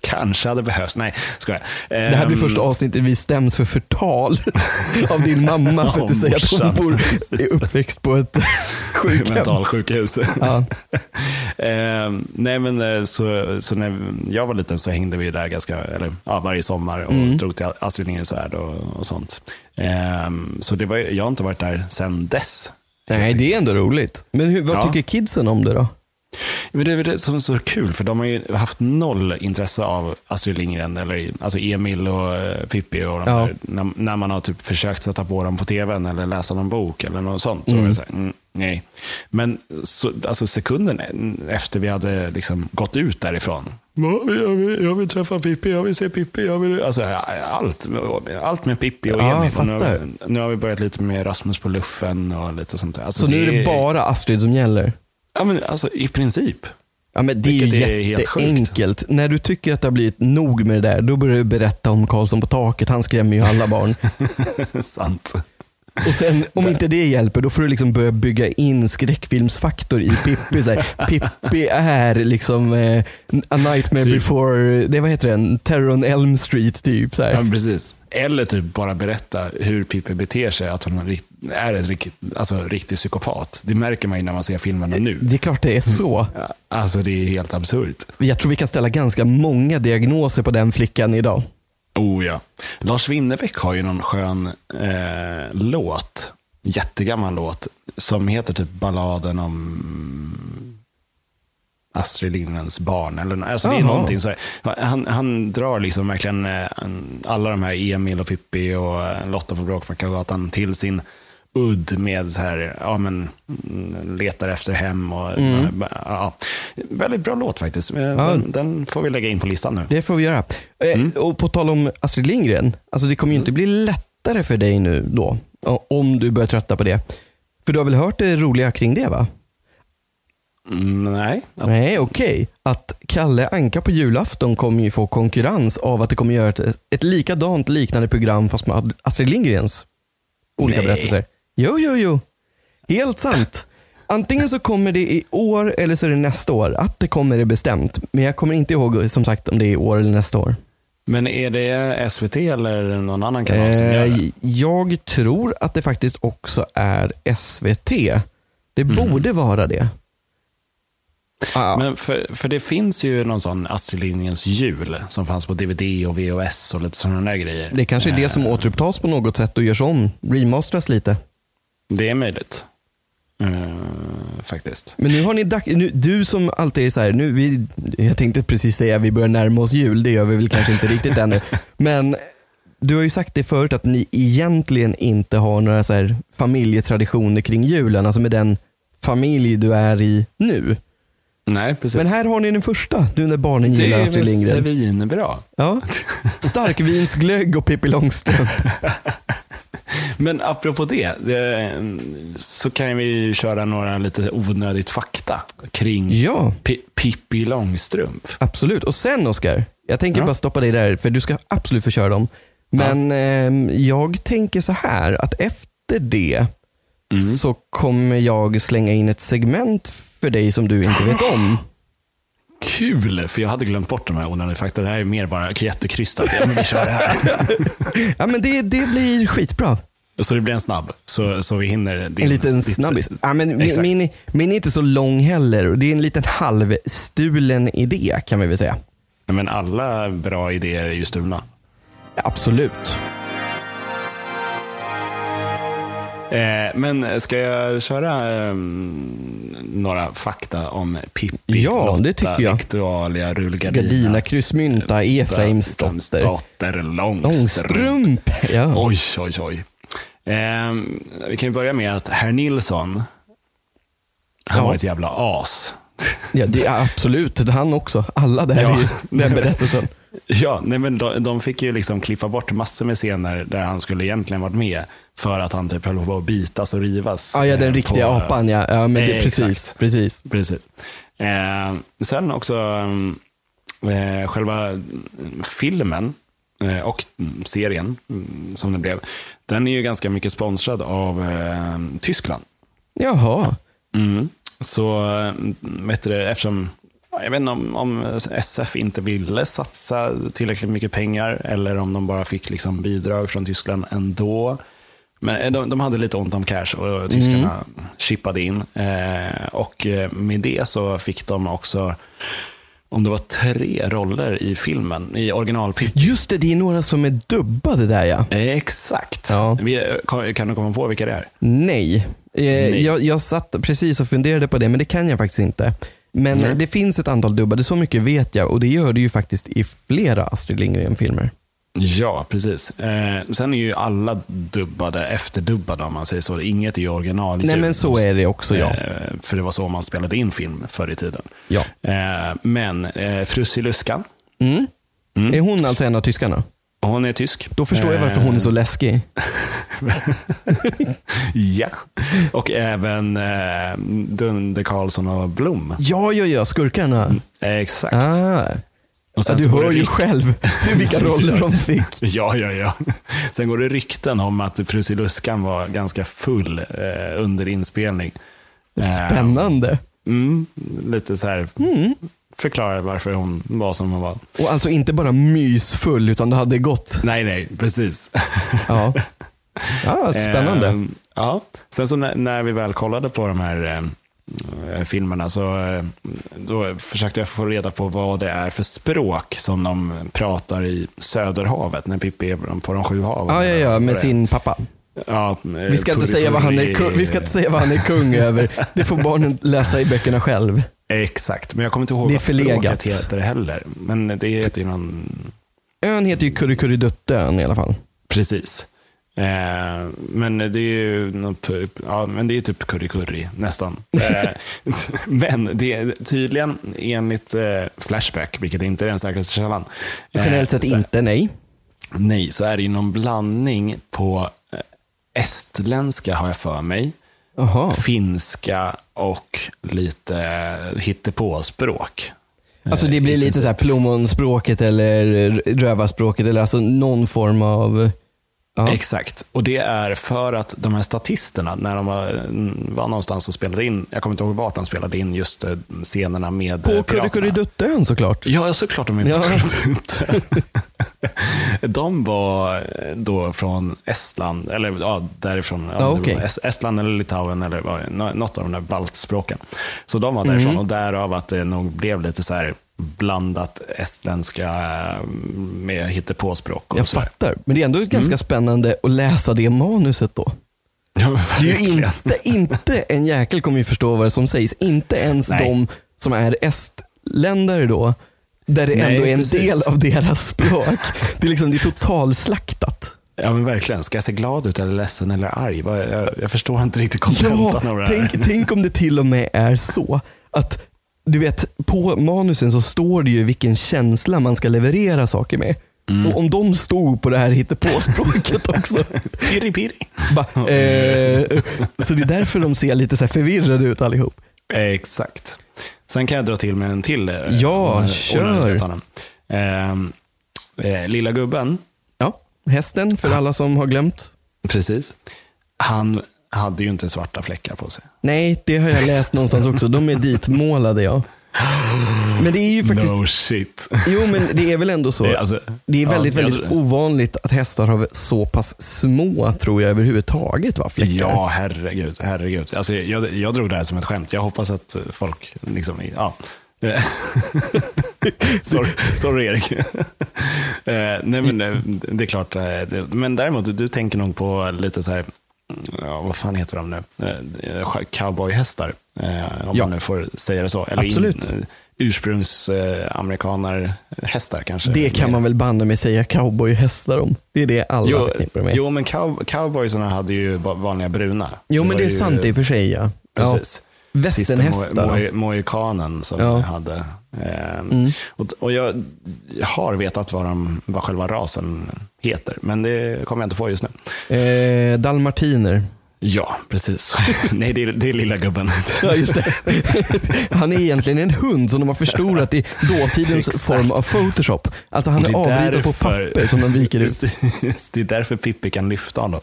Speaker 2: Kanske hade behövts. Nej, skojar. Ehm,
Speaker 1: det här blir första avsnittet vi stäms för förtal av din mamma för att du
Speaker 2: Ja,
Speaker 1: säger att hon
Speaker 2: morsan,
Speaker 1: bor,
Speaker 2: precis.
Speaker 1: är uppväxt på ett sjukhem.
Speaker 2: mentalsjukhus.
Speaker 1: Ja.
Speaker 2: Eh, nej men eh, så, så när jag var liten så hängde vi där ganska, eller, ja, varje sommar och
Speaker 1: Mm.
Speaker 2: drog till Astrid Lindgrens Värld och, och sånt. Eh, så det var, ju- jag har inte varit där sedan dess.
Speaker 1: Nej, det är ändå roligt. Men hur, vad
Speaker 2: Ja.
Speaker 1: tycker kidsen om det då?
Speaker 2: Men det är väl det som är så kul, för de har ju haft noll intresse av Astrid Lindgren, eller alltså Emil och eh, Pippi och de
Speaker 1: Ja.
Speaker 2: där, när, när man har typ försökt sätta på dem på tvn eller läsa någon bok eller något sånt. Så var det så här, mm, nej. Men så, alltså sekunden efter vi hade liksom gått ut därifrån, "Va? jag vill, jag vill träffa Pippi, jag vill se Pippi, jag vill... Alltså, allt, allt med Pippi och
Speaker 1: Ja,
Speaker 2: Emil.
Speaker 1: jag
Speaker 2: Och nu,
Speaker 1: fattar.
Speaker 2: nu har vi börjat lite med Rasmus på luffen och lite sånt där. Alltså,
Speaker 1: Så nu är det bara Astrid som gäller?
Speaker 2: Ja, men, alltså, i princip.
Speaker 1: Ja, men det är ju
Speaker 2: Vilket är helt
Speaker 1: jätteenkelt. När du tycker att det har blivit nog med det där, då börjar du berätta om Karlsson på taket. Han skrämmer ju alla barn.
Speaker 2: Sant.
Speaker 1: Och sen om inte det hjälper, då får du liksom börja bygga in skräckfilmsfaktor i Pippi. Så här, Pippi är liksom eh, A Nightmare
Speaker 2: Typ.
Speaker 1: Before, det, vad heter den? Terror on Elm Street typ. Så
Speaker 2: Ja,
Speaker 1: här.
Speaker 2: men precis. Eller typ bara berätta hur Pippi beter sig, att hon är en rikt- är ett riktigt, alltså, riktig psykopat. Det märker man ju när man ser filmerna nu.
Speaker 1: Det är klart det är så.
Speaker 2: Ja, Alltså det är helt absurt.
Speaker 1: Jag tror vi kan ställa ganska många diagnoser på den flickan idag.
Speaker 2: Oh ja. Lars Winnerbäck har ju någon skön eh, låt, jättegammal låt, som heter typ Balladen om Astrid Lindgrens barn. Eller, nå- alltså det är
Speaker 1: Jaha.
Speaker 2: någonting så, han, han drar liksom verkligen eh, alla de här Emil och Pippi och eh, Lotta på Bråkmakargatan till sin udd med så här, ja men mm, letar efter hem och ja, väldigt bra låt faktiskt. Eh, Den, den får vi lägga in på listan nu.
Speaker 1: Det får vi göra. Eh, Och på tal om Astrid Lindgren, alltså det kommer ju inte bli lättare för dig nu då, o- om du börjar trötta på det. För du har väl hört det roliga kring det va?
Speaker 2: Mm, Nej,
Speaker 1: Nej, okej. Att Kalle Anka på julafton kommer ju få konkurrens av att det kommer göra ett, ett likadant liknande program fast med Ad- Astrid Lindgrens olika
Speaker 2: Nej.
Speaker 1: berättelser. Jo, jo, jo. Helt sant. Antingen så kommer det i år eller så är det nästa år. Att det kommer är bestämt. Men jag kommer inte ihåg som sagt om det är i år eller nästa år.
Speaker 2: Men är det SVT eller någon annan kanal som gör det?
Speaker 1: Eh, Jag tror att det faktiskt också är SVT. Det borde vara det. Ah,
Speaker 2: Mm. Men för, för det finns ju någon sån Astrid Lindgrens jul som fanns på DVD och VHS och lite sådana där grejer. Eh,
Speaker 1: det kanske är det som återupptas på något sätt och görs om, remasteras lite.
Speaker 2: Det är möjligt. Eh, faktiskt.
Speaker 1: Men nu har ni dack, nu, du som alltid är så här, nu, vi, jag tänkte precis säga att vi börjar närma oss jul, det gör vi väl kanske inte riktigt ännu. Men du har ju sagt det förut att ni egentligen inte har några så här familjetraditioner kring julen, alltså med den familj du är i nu.
Speaker 2: Nej, precis.
Speaker 1: Men här har ni den första, nu när barnen
Speaker 2: det
Speaker 1: gillar
Speaker 2: är
Speaker 1: Astrid
Speaker 2: väl
Speaker 1: Lindgren.
Speaker 2: svinbra.
Speaker 1: Ja. Starkvinsglögg och Pippi Långstrump.
Speaker 2: Men apropå det, det, så kan vi ju köra några lite onödigt fakta kring
Speaker 1: Ja,
Speaker 2: Pi- Pippi Långstrump.
Speaker 1: absolut. Och sen Oskar, jag tänker
Speaker 2: Ja.
Speaker 1: bara stoppa dig där, för du ska absolut få köra dem. Men ehm, jag tänker så här, att efter det
Speaker 2: Mm.
Speaker 1: så kommer jag slänga in ett segment för dig som du inte vet om.
Speaker 2: Kul, för jag hade glömt bort de här onödiga fakta. Det här är mer bara jättekrystat. Ja, men vi kör det här.
Speaker 1: Ja, men det, det blir skitbra.
Speaker 2: Så det blir en snabb, så, så vi hinner. Din,
Speaker 1: En liten
Speaker 2: ditt-
Speaker 1: snabbis. Ja, men min,
Speaker 2: Exakt.
Speaker 1: min, min är inte så lång heller och det är en liten halvstulen idé kan vi väl säga.
Speaker 2: Nej, Men alla bra idéer är ju stulna.
Speaker 1: Absolut.
Speaker 2: Eh, men ska jag köra eh, några fakta om Pippi,
Speaker 1: Ja,
Speaker 2: Lotta,
Speaker 1: det tycker jag.
Speaker 2: Victualia, Rullgardina,
Speaker 1: Gardina, kryssmynta, Efraims dotter.
Speaker 2: dotter Långstrump.
Speaker 1: Långstrump. Ja.
Speaker 2: Oj, oj, oj. Eh, vi kan ju börja med att herr Nilsson, han
Speaker 1: Ja.
Speaker 2: var ett jävla as.
Speaker 1: Ja, det är absolut, han också. Alla där
Speaker 2: Ja.
Speaker 1: i den berättelsen.
Speaker 2: Ja, nej men de, de fick ju liksom klippa bort massor med scener där han skulle egentligen varit med. För att han typ höll på att bitas och rivas.
Speaker 1: Ja, ja,
Speaker 2: eh,
Speaker 1: den riktiga
Speaker 2: på-
Speaker 1: apan ja. ja men det,
Speaker 2: Eh,
Speaker 1: precis,
Speaker 2: exakt.
Speaker 1: precis.
Speaker 2: Precis. Eh, sen också mm, eh, själva filmen eh, och serien mm, som den blev. Den är ju ganska mycket sponsrad av eh, Tyskland.
Speaker 1: Jaha.
Speaker 2: Så eh, vet du, det, eftersom jag vet inte om, om SF inte ville satsa tillräckligt mycket pengar eller om de bara fick liksom bidrag från Tyskland ändå. Men eh, de, de hade lite ont om cash
Speaker 1: Mm.
Speaker 2: och tyskarna chippade in. Eh, och eh, med det så fick de också, om det var tre roller i filmen, i originalpitch.
Speaker 1: Just det, det är några som är dubbade där ja.
Speaker 2: Eh, Exakt.
Speaker 1: Ja.
Speaker 2: Vi, eh, kan, kan du komma på vilka det är?
Speaker 1: Nej. Eh,
Speaker 2: Nej.
Speaker 1: Jag, jag satt precis och funderade på det, men det kan jag faktiskt inte. Men
Speaker 2: Nej.
Speaker 1: det finns ett antal dubbade, så mycket vet jag. Och det gör det ju faktiskt i flera Astrid Lindgren-filmer.
Speaker 2: Ja, precis. Eh, sen är ju alla dubbade, efterdubbade om man säger så. Inget är ju original.
Speaker 1: Nej, men så är det också ja.
Speaker 2: Eh, för det var så man spelade in film förr i tiden.
Speaker 1: ja.
Speaker 2: Eh, men eh, Frusiluskan,
Speaker 1: Mm. Är hon alltså en av tyskarna?
Speaker 2: hon är tysk.
Speaker 1: Då förstår jag varför hon är så läskig.
Speaker 2: Eh, Ja. Och även eh, Dunder Karlsson och Blom.
Speaker 1: Ja, ja, ja, skurkarna.
Speaker 2: Eh, exakt.
Speaker 1: Ah.
Speaker 2: och
Speaker 1: Ja,
Speaker 2: sen
Speaker 1: du
Speaker 2: så går
Speaker 1: hör
Speaker 2: det
Speaker 1: ju
Speaker 2: rykt-
Speaker 1: själv vilka roller de fick.
Speaker 2: Ja, ja, ja. Sen går det rykten om att Frusiluskan var ganska full eh, under inspelning. Eh,
Speaker 1: Spännande.
Speaker 2: Mm, lite så här.
Speaker 1: Mm.
Speaker 2: Förklarar varför hon var som hon var.
Speaker 1: Och alltså inte bara mysfull, utan det hade gått.
Speaker 2: Nej, nej, precis.
Speaker 1: Ja. Ja, spännande.
Speaker 2: Ehm, ja. Sen så när, när vi väl kollade på de här eh, filmerna så eh, då försökte jag få reda på vad det är för språk som de pratar i Söderhavet när Pippi är på de sju haven.
Speaker 1: Ja, ja, ja, med sin pappa.
Speaker 2: Ja, eh,
Speaker 1: Vi ska, inte säga vad han är kung, vi ska inte säga vad han är kung över. Det får barnen läsa i böckerna själv.
Speaker 2: Exakt, men jag kommer inte ihåg
Speaker 1: Det är
Speaker 2: vad
Speaker 1: förlegat.
Speaker 2: språket heter heller. Men det heter ju någon
Speaker 1: Ön heter ju Kurrekurreduttön i alla fall.
Speaker 2: Precis. Eh, men det är ju något pu- ja, men det är typ curry curry, nästan. Eh, men det är tydligen enligt eh, Flashback, vilket inte är den säkraste källan. eh,
Speaker 1: Generellt sett
Speaker 2: så,
Speaker 1: inte, nej.
Speaker 2: Nej, så är det ju någon blandning på eh, estländska, har jag för mig,
Speaker 1: Jaha.
Speaker 2: finska och lite eh, hittepåspråk.
Speaker 1: Alltså det blir lite så här plommonspråket eller rövarspråket eller alltså någon form av... Ja.
Speaker 2: Exakt, och det är för att de här statisterna, när de var, var någonstans och spelade in, jag kommer inte ihåg vart de spelade in just eh, scenerna med eh,
Speaker 1: På
Speaker 2: piraterna.
Speaker 1: Kurrekurreduttön såklart.
Speaker 2: Ja, såklart de är på
Speaker 1: Ja.
Speaker 2: Kurrekurredutten. De var eh, då från Estland, eller ja, därifrån. Ja,
Speaker 1: Ja,
Speaker 2: det
Speaker 1: okej.
Speaker 2: var Es- Estland eller Litauen eller vad- nå- något av de där baltspråken. Så de var därifrån
Speaker 1: Mm.
Speaker 2: och därav att det nog blev lite så här blandat estländska eh, med hittepåspråk och
Speaker 1: Jag
Speaker 2: sådär.
Speaker 1: fattar. Men det är ändå ganska
Speaker 2: Mm.
Speaker 1: spännande att läsa det manuset då.
Speaker 2: Ja,
Speaker 1: Det är ju
Speaker 2: verkligen.
Speaker 1: inte, inte en jäkel kommer ju förstå vad som sägs. Inte ens
Speaker 2: Nej.
Speaker 1: de som är estländare då, där det
Speaker 2: Nej,
Speaker 1: ändå är en
Speaker 2: precis.
Speaker 1: del av deras språk. Det är liksom det är totalslaktat.
Speaker 2: Ja men verkligen. Ska jag se glad ut eller ledsen eller arg? Vad- Jag, jag förstår inte riktigt
Speaker 1: Ja,
Speaker 2: kontentan av det här.
Speaker 1: tänk, tänk om det till och med är så att du vet, på manusen så står det ju vilken känsla man ska leverera saker med. Och om de stod på det här hittepåspråket också.
Speaker 2: Pirri pirri.
Speaker 1: Bara, eh, så det är därför de ser lite så här förvirrade ut allihop.
Speaker 2: Exakt. Sen kan jag dra till med en till. eh,
Speaker 1: Ja,
Speaker 2: om jag-
Speaker 1: kör.
Speaker 2: om jag ska ta den. Ehm, eh, lilla gubben,
Speaker 1: Ja, hästen för alla som har glömt.
Speaker 2: precis. Han hade ju inte svarta fläckar på sig.
Speaker 1: Nej, det har jag läst någonstans också. De är ditmålade ja. Men det är ju faktiskt,
Speaker 2: No shit.
Speaker 1: jo men det är väl ändå så.
Speaker 2: Det är alltså-
Speaker 1: Det är väldigt,
Speaker 2: ja, jag
Speaker 1: väldigt
Speaker 2: tror-
Speaker 1: ovanligt att hästar har så pass små, tror jag, överhuvudtaget va? Fläckar.
Speaker 2: Ja, herregud. herregud. Alltså, jag, jag drog det här som ett skämt. Jag hoppas att eh, folk... Liksom, ja. Eh, sorry, sorry, Erik. Eh, nej, men eh, det är klart. eh, det- Men däremot, du tänker nog på lite så här... mm, Ja, vad fan heter de nu? Eh, eh, Cowboyhästar, eh, om
Speaker 1: Ja.
Speaker 2: man nu får säga det så. Eller eh,
Speaker 1: Absolut.
Speaker 2: Ursprungsamerikaner-hästar kanske.
Speaker 1: Det kan man väl banne mig säga cowboyhästar om. Det är det alla
Speaker 2: Jo,
Speaker 1: förknippar med. Jo,
Speaker 2: jo, men cow, cowboysarna hade ju ba- vanliga bruna.
Speaker 1: men
Speaker 2: var
Speaker 1: det är
Speaker 2: ju-
Speaker 1: sant i och för sig ja.
Speaker 2: Precis.
Speaker 1: ja.
Speaker 2: sista
Speaker 1: Västernhästar.
Speaker 2: moj- mohikanen som
Speaker 1: Ja. Mm.
Speaker 2: jag hade. Eh, Och, och jag har vetat vad, de, vad själva rasen heter, men det kommer jag inte på just nu.
Speaker 1: Eh, dalmartiner.
Speaker 2: Ja, precis. Nej, det är, det är lilla gubben.
Speaker 1: Ja, just det. Han är egentligen en hund som de har förstorat i dåtidens
Speaker 2: Exakt.
Speaker 1: form av Photoshop. Alltså han är,
Speaker 2: Och det är
Speaker 1: avritad på
Speaker 2: därför-
Speaker 1: papper som de viker ut.
Speaker 2: Precis, det är därför Pippi kan lyfta honom.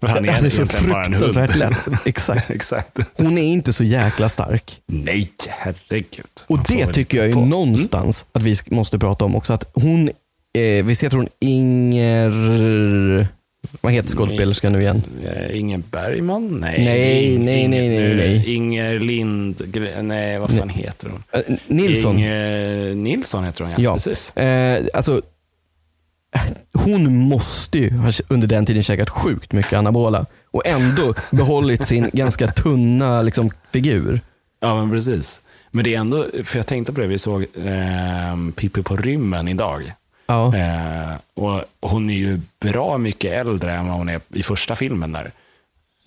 Speaker 2: För han är,
Speaker 1: Han är så
Speaker 2: egentligen bara en hund.
Speaker 1: fruktansvärt lätt. Exakt.
Speaker 2: Exakt.
Speaker 1: Hon är inte så jäkla stark.
Speaker 2: Nej, herregud.
Speaker 1: Och
Speaker 2: Man får Mm.
Speaker 1: det
Speaker 2: väl
Speaker 1: tycker jag ju
Speaker 2: på.
Speaker 1: någonstans att vi sk- måste prata om också. Att hon, eh, vi heter hon Inger... Vad heter skådespelerskan nu igen?
Speaker 2: Eh, Inger Bergman? Nej.
Speaker 1: Nej,
Speaker 2: det är Ing-
Speaker 1: nej, nej,
Speaker 2: Inger- Eh,
Speaker 1: nej, nej.
Speaker 2: Inger Lind... Gre- Nej, vad fan heter hon?
Speaker 1: Eh, Nilsson.
Speaker 2: Inger Nilsson heter hon, ja.
Speaker 1: Ja.
Speaker 2: Precis.
Speaker 1: Eh, alltså, hon måste ju ha under den tiden käkat sjukt mycket anabola och ändå behållit sin ganska tunna liksom, figur.
Speaker 2: Ja, men precis. Men det är ändå, för jag tänkte på det, vi såg eh, Pippi på rymmen idag.
Speaker 1: Ja.
Speaker 2: Eh, och hon är ju bra mycket äldre än vad hon är i första filmen där.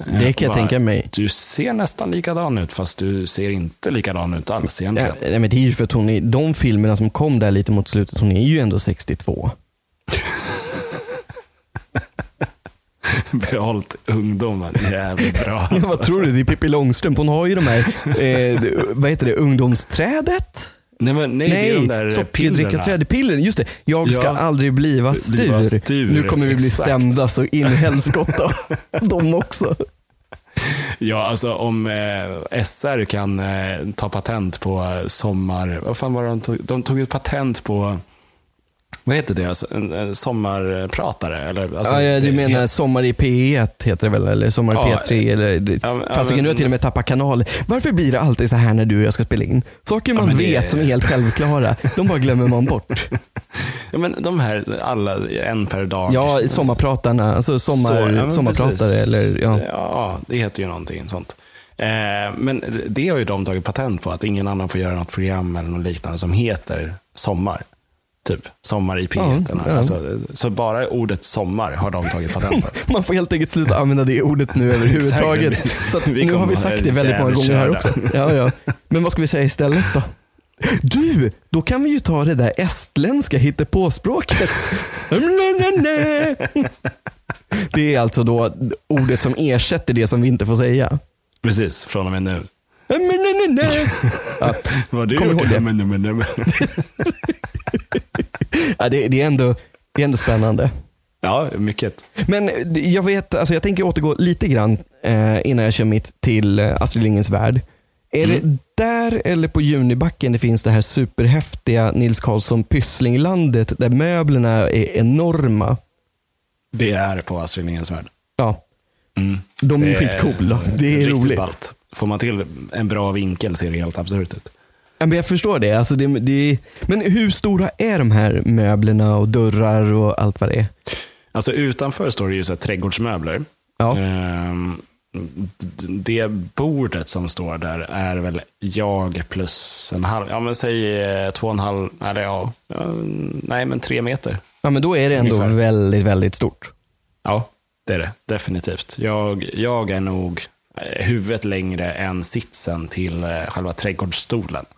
Speaker 2: Eh,
Speaker 1: Det kan jag
Speaker 2: bara,
Speaker 1: tänka mig.
Speaker 2: Du ser nästan likadan ut, fast du ser inte likadan ut alls
Speaker 1: Ja,
Speaker 2: egentligen.
Speaker 1: Eh, nej, men det är ju för att hon i de filmerna som kom där lite mot slutet, hon är ju ändå 62.
Speaker 2: Behållt ungdomen jävligt bra.
Speaker 1: Ja,
Speaker 2: Alltså.
Speaker 1: vad tror du? Det är Pippi Långstrump. Hon har ju de här, eh, vad heter det, ungdomsträdet?
Speaker 2: Nej, men, nej, det är de där pillerna.
Speaker 1: sockerdrickasträdepillren. Just det. Jag ska
Speaker 2: Ja.
Speaker 1: aldrig bliva stur.
Speaker 2: Bliva stur,
Speaker 1: Nu kommer vi bli
Speaker 2: exakt.
Speaker 1: stämda så in i helskotta. de också.
Speaker 2: Alltså, Ja, alltså om eh, SR kan eh, ta patent på eh, sommar... Vad fan var det de tog? De tog ett patent på... Vad heter det? Alltså, en, en sommarpratare? Eller, alltså,
Speaker 1: ja, ja, du
Speaker 2: det-
Speaker 1: menar Sommar i P1 heter det väl? Eller Sommar i
Speaker 2: Ja,
Speaker 1: P3? Eller,
Speaker 2: ja, men-
Speaker 1: fasiken, nu har jag till och med tappat kanal. Varför blir det alltid så här när du och jag ska spela in? Saker man
Speaker 2: men det-
Speaker 1: vet som är helt självklara, de bara glömmer man bort.
Speaker 2: Ja, men de här, alla, en per dag.
Speaker 1: Ja, sommarpratarna, alltså
Speaker 2: Så,
Speaker 1: sommar,
Speaker 2: ja, men
Speaker 1: sommarpratare
Speaker 2: precis.
Speaker 1: eller ja.
Speaker 2: ja, det heter ju någonting sånt. Eh, men det har ju de tagit patent på, att ingen annan får göra något program eller något liknande som heter sommar. Typ sommar i P1.
Speaker 1: Ja, ja.
Speaker 2: Alltså, så bara ordet sommar har de tagit patent på.
Speaker 1: Man får helt enkelt sluta använda det ordet nu överhuvudtaget.
Speaker 2: Exakt.
Speaker 1: Så att
Speaker 2: Vi
Speaker 1: nu har vi
Speaker 2: kommer
Speaker 1: sagt
Speaker 2: vara
Speaker 1: det väldigt många gånger här också. Ja, ja. Men vad ska vi säga istället då? Du, då kan vi ju ta det där estländska hittepåspråket. Det är alltså då ordet som ersätter det som vi inte får säga.
Speaker 2: Precis, från och med nu.
Speaker 1: Ja,
Speaker 2: Vad du
Speaker 1: Kom
Speaker 2: gjort?
Speaker 1: ihåg det.
Speaker 2: Men, men, men.
Speaker 1: Ja, det, det, är ändå, det är ändå spännande.
Speaker 2: Ja, mycket.
Speaker 1: Men jag vet, alltså jag tänker återgå lite grann eh, innan jag kör mitt till eh, Astrid Lindgrens Värld. Är
Speaker 2: Mm.
Speaker 1: det där eller på Junibacken det finns det här superhäftiga Nils Karlsson Pysslinglandet där möblerna är enorma?
Speaker 2: Det är på Astrid Lindgrens Värld.
Speaker 1: Ja, de är ju skitcoola. Det är
Speaker 2: Mm. riktigt
Speaker 1: roligt.
Speaker 2: Ballt. Får man till en bra vinkel ser det helt absurt typ. ut.
Speaker 1: Ja, men jag förstår det. Alltså det, det. Men hur stora är de här möblerna och dörrar och allt vad det är?
Speaker 2: Alltså utanför står det ju så här trädgårdsmöbler.
Speaker 1: Ja.
Speaker 2: Ehm, d- Det bordet som står där är väl jag plus en halv, ja men säg eh, två och en halv, eller ja, ja, nej men tre meter.
Speaker 1: Ja, men då är det ändå
Speaker 2: Ungefär.
Speaker 1: väldigt, väldigt stort.
Speaker 2: Ja, det är det. Definitivt. Jag, jag är nog eh, huvudet längre än sitsen till eh, själva trädgårdsstolen.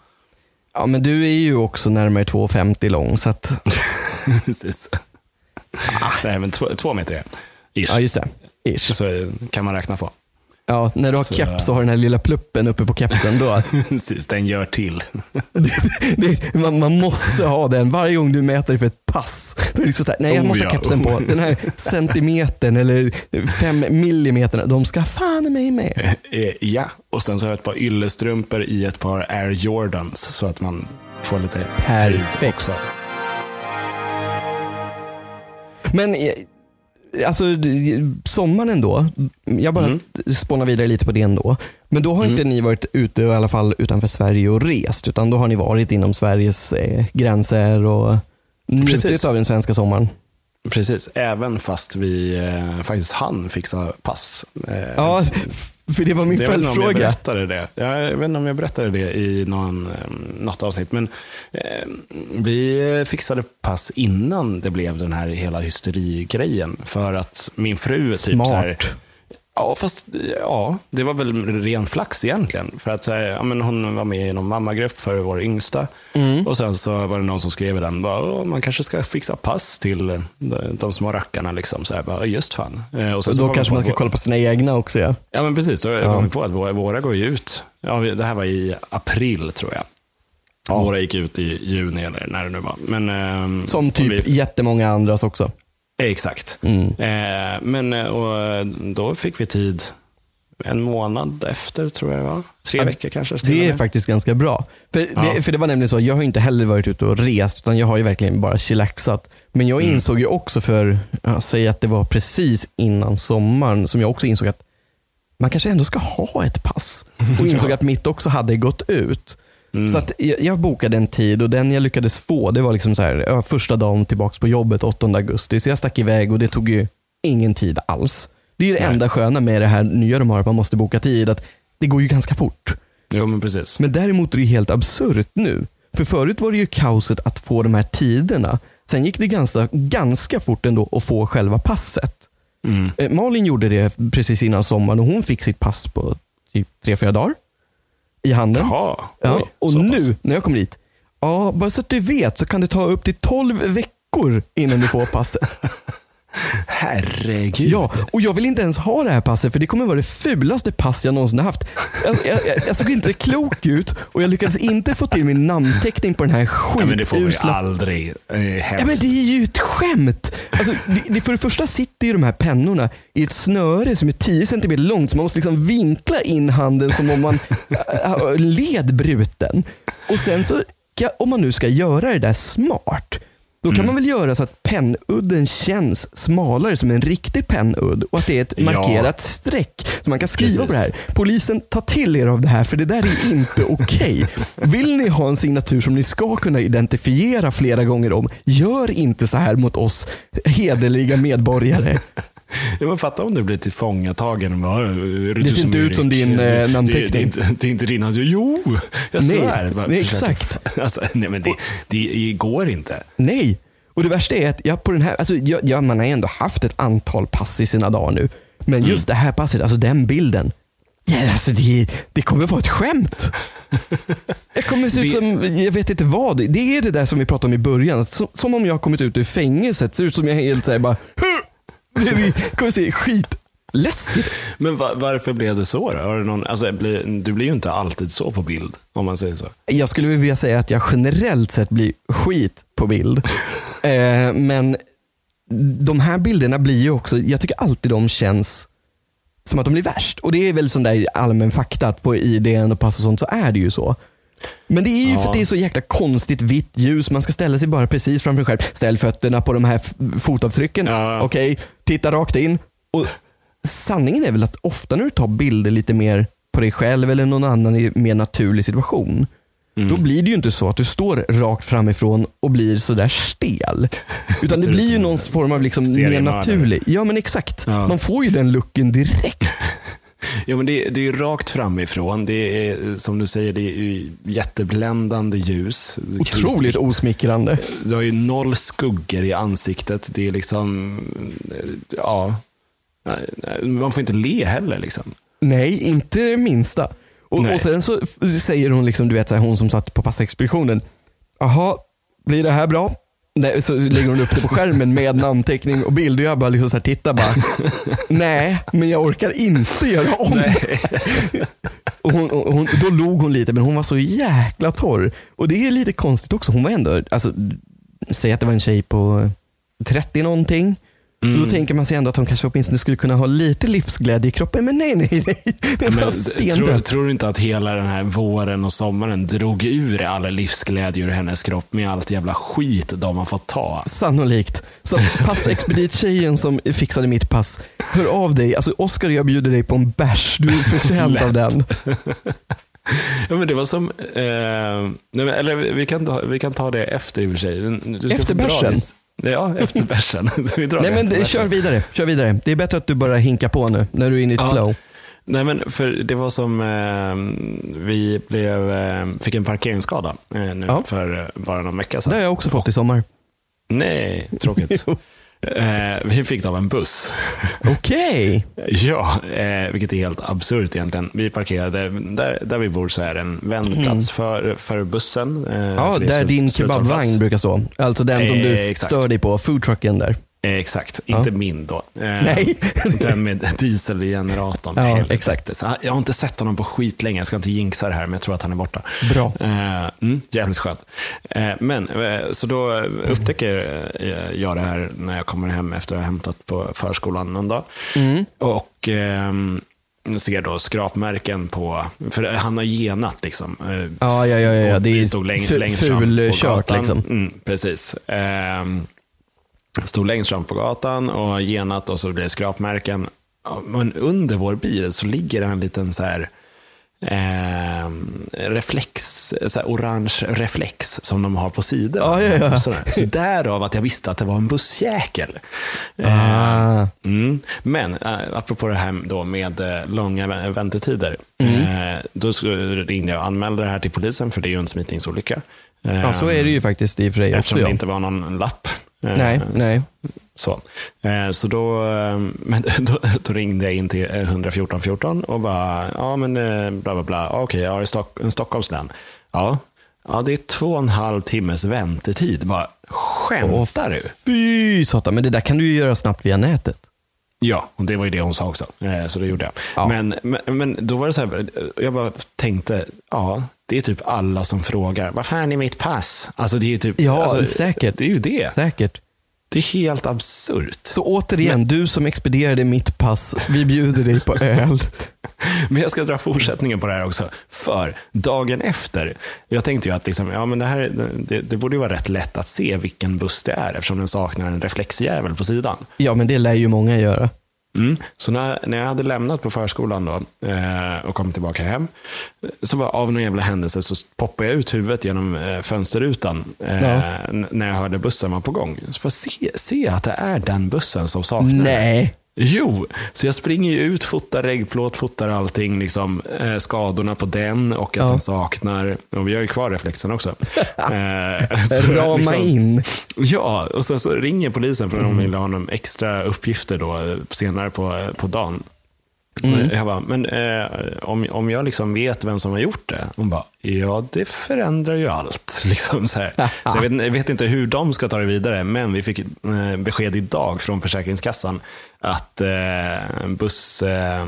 Speaker 1: Ja, men du är ju också närmare 2,50 lång så att
Speaker 2: Precis. Nej, men två, två meter är jag. Ish.
Speaker 1: Ah. Ja, just det. Ish.
Speaker 2: Så eh, kan man räkna på.
Speaker 1: Ja, när du har keps så har den här lilla pluppen uppe på kepsen. Då.
Speaker 2: Precis, den gör till.
Speaker 1: Det, man, man måste ha den varje gång du mäter dig för ett pass. Då är det liksom så här, nej, jag
Speaker 2: Oh,
Speaker 1: måste
Speaker 2: ja.
Speaker 1: ha kepsen på. Den här centimetern eller fem millimeterna, de ska fan i mig med.
Speaker 2: Eh, ja, och sen så har jag ett par yllestrumpor i ett par Air Jordans så att man får lite höjd
Speaker 1: Perfekt.
Speaker 2: också.
Speaker 1: Men eh, alltså, d- sommaren ändå, jag bara
Speaker 2: Mm.
Speaker 1: spånar vidare lite på det ändå. Men då har inte ni varit ute i alla fall utanför Sverige och rest, utan då har ni varit inom Sveriges eh, gränser och njutit
Speaker 2: Precis.
Speaker 1: av den svenska sommaren.
Speaker 2: Precis, även fast vi eh, faktiskt hann fixa pass. Eh,
Speaker 1: Ja, för det var min
Speaker 2: Jag vet inte om jag
Speaker 1: följdfråga.
Speaker 2: berättade det. Jag vet inte om jag berättade det i någon, eh, något avsnitt. Men eh, vi fixade pass innan det blev den här hela hysterigrejen. För att min fru är typ så här.
Speaker 1: Smart.
Speaker 2: Ja, fast ja, det var väl ren flax egentligen. För att så här, ja, men hon var med i någon mammagrupp för vår yngsta.
Speaker 1: Mm.
Speaker 2: Och sen så var det någon som skrev i den, bara, "Åh, man kanske ska fixa pass till eh, de, de små rackarna. Liksom, så här, bara, just fan. Eh, Och sen så
Speaker 1: Då
Speaker 2: kom jag
Speaker 1: kanske
Speaker 2: på
Speaker 1: man ska
Speaker 2: att-
Speaker 1: kolla på sina egna också. Ja.
Speaker 2: Ja, men precis. Då kom vi på att våra, våra går ju ut. Ja, vi- det här var i april, tror jag. Våra gick ut i juni eller när det nu var. Men, ehm,
Speaker 1: Som
Speaker 2: och
Speaker 1: typ Mm.
Speaker 2: vi-
Speaker 1: jättemånga andras också.
Speaker 2: Eh, Exakt. Eh, men eh, och, eh, då fick vi tid en månad efter, tror jag det var. Tre veckor kanske. till och
Speaker 1: Det är
Speaker 2: med.
Speaker 1: faktiskt ganska bra. För, det,
Speaker 2: Ja.
Speaker 1: för det var nämligen så, jag har ju inte heller varit ute och rest, utan jag har ju verkligen bara chillaxat. Men
Speaker 2: Mm.
Speaker 1: jag insåg ju också för, ja, säg att det var precis innan sommaren, som jag också insåg att man kanske ändå ska ha ett pass. Och insåg att mitt också hade gått ut.
Speaker 2: Mm.
Speaker 1: Så att jag, jag bokade en tid och den jag lyckades få, det var liksom så här, ja, första dagen tillbaka på jobbet 8 augusti. Så jag stack iväg och det tog ju ingen tid alls. Det är ju det
Speaker 2: Nej.
Speaker 1: enda sköna med det här nya de har, att man måste boka tid, att det går ju ganska fort.
Speaker 2: Jo, men precis.
Speaker 1: Men däremot är det ju helt absurt nu. För förut var det ju kaoset att få de här tiderna. Sen gick det ganska, ganska fort ändå att få själva passet.
Speaker 2: Mm.
Speaker 1: Eh, Malin gjorde det precis innan sommaren och hon fick sitt pass på typ tre, fyra dagar. I handen.
Speaker 2: Jaha,
Speaker 1: ja,
Speaker 2: oj,
Speaker 1: och
Speaker 2: så
Speaker 1: nu
Speaker 2: pass.
Speaker 1: när jag kom dit. Ja, bara så att du vet så kan det ta upp till 12 veckor innan du får passet.
Speaker 2: Herregud.
Speaker 1: Ja, och jag vill inte ens ha det här passet för det kommer vara det fulaste pass jag någonsin har haft. Jag, jag, jag, jag såg inte klok ut och jag lyckades inte få till min namnteckning på den här
Speaker 2: Ja, men det får man ju
Speaker 1: skitusla
Speaker 2: aldrig. Eh, hemskt.
Speaker 1: Ja, men det är ju ett skämt. Alltså, det, det, för det första sitter ju de här pennorna i ett snöre som är 10 cm långt, så man måste liksom vinkla in handen som om man äh, har led bruten. Och sen så, ska- om man nu ska göra det där smart, då kan man väl göra så att pennudden känns smalare som en riktig pennudd och att det är ett
Speaker 2: Ja.
Speaker 1: markerat streck. Så man kan skriva på det
Speaker 2: Precis.
Speaker 1: här. Polisen, ta till er av det här för det där är inte okej. Vill ni ha en signatur som ni ska kunna identifiera flera gånger om, gör inte så här mot oss hederliga medborgare.
Speaker 2: Ja, men fatta om du blir tillfångatagen. Bara, "Äh, "Är du
Speaker 1: ser inte
Speaker 2: är
Speaker 1: ut som
Speaker 2: Erik?"
Speaker 1: din, eh,
Speaker 2: Det- det-
Speaker 1: namnteckning.
Speaker 2: Det, är inte- det är inte din namnteckning. Jo, jag
Speaker 1: Nej,
Speaker 2: svär. Bara
Speaker 1: nej,
Speaker 2: försöker-
Speaker 1: exakt.
Speaker 2: Alltså, nej, men det, det går inte.
Speaker 1: Nej, och det värsta är att jag på den här, alltså, jag, jag, man har ändå haft ett antal pass i sina dagar nu. Men just det här passet, alltså den bilden. Ja, alltså det, det kommer vara ett skämt. Jag kommer se ut
Speaker 2: Det-
Speaker 1: som, jag vet inte vad. Det är det där som vi pratade om i början. att Som, som om jag har kommit ut ur fängelset. Ser ut som jag är helt såhär bara, det det kommer se skitläskigt
Speaker 2: Men va, varför blev det så då? Har du, någon, alltså, blir- du blir ju inte alltid så på bild, om man säger så.
Speaker 1: Jag skulle vilja säga att jag generellt sett blir skit på bild. Eh, men de här bilderna blir ju också, jag tycker alltid de känns som att de blir värst. Och det är väl sån där allmän fakta att på IDN och pass och sånt så är det ju så. Men det är ju för att det är så jäkla konstigt vitt ljus. Man ska ställa sig bara precis framför sig själv. Ställ fötterna på de här f- fotavtrycken.
Speaker 2: Ja.
Speaker 1: Okej, titta rakt in. Och sanningen är väl att ofta när du tar bilder lite mer på dig själv eller någon annan i en mer naturlig situation.
Speaker 2: Mm.
Speaker 1: Då blir det ju inte så att du står rakt framifrån och blir sådär stel. Utan det
Speaker 2: Ser ut
Speaker 1: blir ju
Speaker 2: som
Speaker 1: någon
Speaker 2: en
Speaker 1: form av liksom mer
Speaker 2: seriemördare.
Speaker 1: naturlig. Ja men exakt.
Speaker 2: Ja.
Speaker 1: Man får ju den looken direkt.
Speaker 2: Ja, men det, det är ju rakt framifrån. Det är, som du säger, det är ju jättebländande ljus.
Speaker 1: Otroligt osmickrande.
Speaker 2: Du har ju noll skuggor i ansiktet. Det är liksom, ja. Man får inte le heller liksom.
Speaker 1: Nej, inte det minsta. Och,
Speaker 2: Nej.
Speaker 1: och sen så f- säger hon, liksom, du vet så här, hon som satt på passexpeditionen. Jaha, blir det här bra? Nej, så lägger hon upp det på skärmen med namnteckning och bild och jag bara liksom så här, tittar bara. Nej, men jag orkar inte göra om det. Och hon, och hon, då log hon lite, men hon var så jäkla torr. Och det är lite konstigt också. Hon var ändå, alltså, säg att det var en tjej på 30 någonting.
Speaker 2: Mm.
Speaker 1: Då tänker man sig ändå att hon kanske åtminstone skulle kunna ha lite livsglädje i kroppen. Men nej, nej, nej. Det var
Speaker 2: Men, tror,
Speaker 1: stendött.
Speaker 2: tror du inte att hela den här våren och sommaren drog ur all livsglädje ur hennes kropp med allt jävla skit de har fått ta?
Speaker 1: Sannolikt. Så att passexpedit-tjejen som fixade mitt pass, hör av dig. Alltså Oskar, jag bjuder dig på en bärs. Du är förtjänt av den.
Speaker 2: Ja, men det var som, eh, nej, men, eller vi kan, ta- vi kan ta det efter i och för sig. Du ska
Speaker 1: Efter
Speaker 2: få dra
Speaker 1: bärsen?
Speaker 2: din- Ja, efter bärsen. Så vi drar
Speaker 1: Nej
Speaker 2: det
Speaker 1: men
Speaker 2: efter
Speaker 1: det-
Speaker 2: bärsen.
Speaker 1: kör vidare. Kör vidare. Det är bättre att du bara hinkar på nu, när du är inne i ett
Speaker 2: Ja.
Speaker 1: flow.
Speaker 2: Nej, men för det var som eh, vi blev, eh, fick en parkeringsskada eh, nu
Speaker 1: Ja.
Speaker 2: för eh, bara någon vecka
Speaker 1: Det
Speaker 2: sedan.
Speaker 1: har jag också fått i sommar.
Speaker 2: Nej, tråkigt.
Speaker 1: Jo.
Speaker 2: Eh, vi fick det av en buss.
Speaker 1: Okej.
Speaker 2: Ja, eh, vilket är helt absurt egentligen. Vi parkerade, där, där vi bor så är det en vändplats för, för bussen. eh,
Speaker 1: Mhm. Ja,
Speaker 2: för det är
Speaker 1: där
Speaker 2: slut-
Speaker 1: din
Speaker 2: sluthållplats.
Speaker 1: kebabvagn brukar stå. Alltså den som du
Speaker 2: Eh, exakt.
Speaker 1: stör dig på, foodtrucken där.
Speaker 2: Eh, exakt, inte min då. Eh,
Speaker 1: Nej.
Speaker 2: Den med dieselgeneratorn.
Speaker 1: Ja,
Speaker 2: Helvete.
Speaker 1: exakt.
Speaker 2: Så han- jag har inte sett honom på skit länge. jag ska inte jinxa det här, men jag tror att han är borta.
Speaker 1: Bra.
Speaker 2: Eh, mm, jävligt skönt. Eh, men, eh, så då upptäcker eh, jag det här när jag kommer hem efter att ha hämtat på förskolan någon dag.
Speaker 1: Mm.
Speaker 2: Och ehm, ser då skrapmärken på, för han har genat liksom. Eh,
Speaker 1: Ja, ja, ja, ja, ja.
Speaker 2: och
Speaker 1: Det är
Speaker 2: vi stod läng-
Speaker 1: fu-
Speaker 2: längst fram på
Speaker 1: fulkört,
Speaker 2: gatan.
Speaker 1: liksom.
Speaker 2: Mm, precis. Ehm, stod längst fram på gatan och genat och så blir det skrapmärken. Ja, Men under vår bil så ligger det en liten så här ehm, reflex, så här orange reflex som de har på
Speaker 1: Ja,
Speaker 2: sidorna.
Speaker 1: ja, ja.
Speaker 2: Så, så därav att jag visste att det var en bussjäkel. Eh,
Speaker 1: Ah.
Speaker 2: Mm. Men äh, apropå det här då med eh, långa vä- väntetider.
Speaker 1: Mm.
Speaker 2: Eh, då sk- ringde jag och anmälde det här till polisen för det är ju en smitningsolycka. Eh,
Speaker 1: Ja, så är det ju faktiskt i och för sig också.
Speaker 2: Eftersom det
Speaker 1: Ja.
Speaker 2: inte var någon lapp. Eh,
Speaker 1: Nej, nej.
Speaker 2: Så, Eh, så då, eh, men då, då ringde jag in till eh, 114 14 och bara, ja men eh, bla bla bla, okej, jag är i Stock Stockholms län. Ja. ja, det är två och en halv timmes väntetid. Bara, skämtar du?
Speaker 1: Fy satan, men det där kan du ju göra snabbt via nätet.
Speaker 2: Ja, och det var ju det hon sa också. Eh, Så det gjorde jag.
Speaker 1: Ja.
Speaker 2: Men, men, men då var det så här, eh, jag bara tänkte, ja, det är typ alla som frågar, var fan är mitt pass? Alltså det är ju typ,
Speaker 1: Ja,
Speaker 2: alltså,
Speaker 1: säkert.
Speaker 2: Det är ju det.
Speaker 1: Säkert.
Speaker 2: Det är helt absurt.
Speaker 1: Så återigen, du som expedierade mitt pass, vi bjuder dig på öl.
Speaker 2: Men jag ska dra fortsättningen på det här också. För dagen efter, jag tänkte ju att liksom, ja, men det, här, det, det borde ju vara rätt lätt att se vilken buss det är eftersom den saknar en reflexjävel på sidan.
Speaker 1: Ja, men det lär ju många göra.
Speaker 2: Mm. Så när, när jag hade lämnat på förskolan då, eh, och kom tillbaka hem, eh, så bara av någon jävla händelse så poppade jag ut huvudet genom eh, fönsterrutan eh,
Speaker 1: Ja.
Speaker 2: n- när jag hörde bussen var på gång. Så bara se, se att det är den bussen som saknar.
Speaker 1: Nej.
Speaker 2: Jo, så jag springer ju ut, fotar reggplåt, fotar allting, liksom, eh, skadorna på den och att
Speaker 1: Ja.
Speaker 2: den saknar. Och vi har ju kvar reflexen också. Eh, så
Speaker 1: Rama
Speaker 2: liksom-
Speaker 1: in.
Speaker 2: Ja, och sen så ringer polisen för att de vill ha honom extra uppgifter då, eh, senare på, på dagen.
Speaker 1: Mm.
Speaker 2: Och Jag bara, men eh, om, om jag liksom vet vem som har gjort det? Hon bara, ja det förändrar ju allt. Liksom så här. så jag, vet, jag vet inte hur de ska ta det vidare, men vi fick eh, besked idag från Försäkringskassan att eh, buss, eh,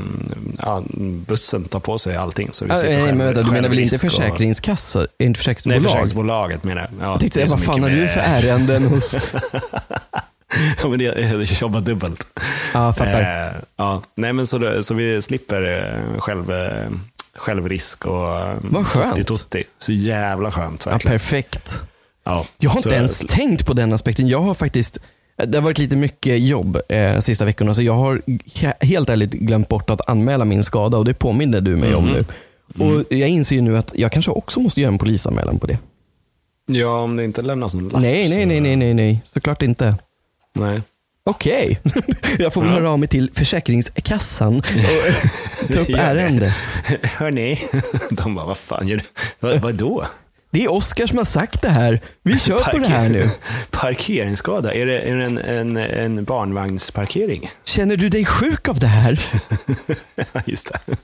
Speaker 2: ja, bussen tar på sig allting. Så vi
Speaker 1: Ah,
Speaker 2: slipper
Speaker 1: nej,
Speaker 2: själv-
Speaker 1: men vänta, du menar väl inte
Speaker 2: självrisk och-
Speaker 1: försäkringskassa? Inte
Speaker 2: Nej,
Speaker 1: försäkringsbolag?
Speaker 2: försäkringsbolaget menar jag. Ja,
Speaker 1: jag tänkte,
Speaker 2: det är så
Speaker 1: vad fan har
Speaker 2: mycket
Speaker 1: du
Speaker 2: med-
Speaker 1: för ärenden hos...
Speaker 2: Ja, men jag, jag jobbar dubbelt.
Speaker 1: Ja, fattar.
Speaker 2: Eh, ja. Nej, men så, då- så vi slipper eh, själv, eh, självrisk och eh,
Speaker 1: Vad skönt.
Speaker 2: tutti-tutti. Så jävla skönt
Speaker 1: Ja,
Speaker 2: verkligen.
Speaker 1: perfekt.
Speaker 2: Ja,
Speaker 1: Jag har
Speaker 2: så-
Speaker 1: inte ens tänkt på den aspekten. Jag har faktiskt, det har varit lite mycket jobb eh, sista veckorna, så jag har he- helt ärligt glömt bort att anmäla min skada och det påminner du mig om
Speaker 2: Mhm.
Speaker 1: nu.
Speaker 2: Mm.
Speaker 1: Och Jag inser ju nu att jag kanske också måste göra en polisanmälan på det.
Speaker 2: Ja, om det inte lämnas någon lapp.
Speaker 1: Nej, nej, nej, nej, nej, nej. såklart inte.
Speaker 2: Så, nej.
Speaker 1: Okej, jag får väl
Speaker 2: Ja.
Speaker 1: höra av mig till Försäkringskassan och eh, ta upp
Speaker 2: Gör det.
Speaker 1: ärendet.
Speaker 2: Hörni, de bara, vad fan gör du? Vad, vadå?
Speaker 1: Det är Oskar som har sagt det här. Vi kör på det här nu.
Speaker 2: Parkeringsskada, är det, är det en, en, en barnvagnsparkering?
Speaker 1: Känner du dig sjuk av det här?
Speaker 2: Ja, Just det.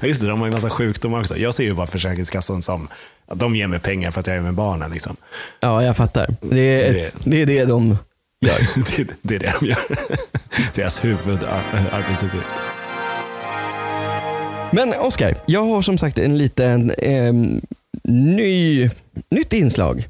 Speaker 2: Ja, Just det, de har ju massa sjukdomar också. Jag ser ju bara Försäkringskassan som att de ger mig pengar för att jag är med barnen. Liksom.
Speaker 1: Ja, jag fattar. Det är
Speaker 2: Det-
Speaker 1: det, är det de
Speaker 2: det, det är det de gör. Deras huvudarbetsuppgift.
Speaker 1: Men Oskar, jag har som sagt en liten eh, ny, nytt inslag.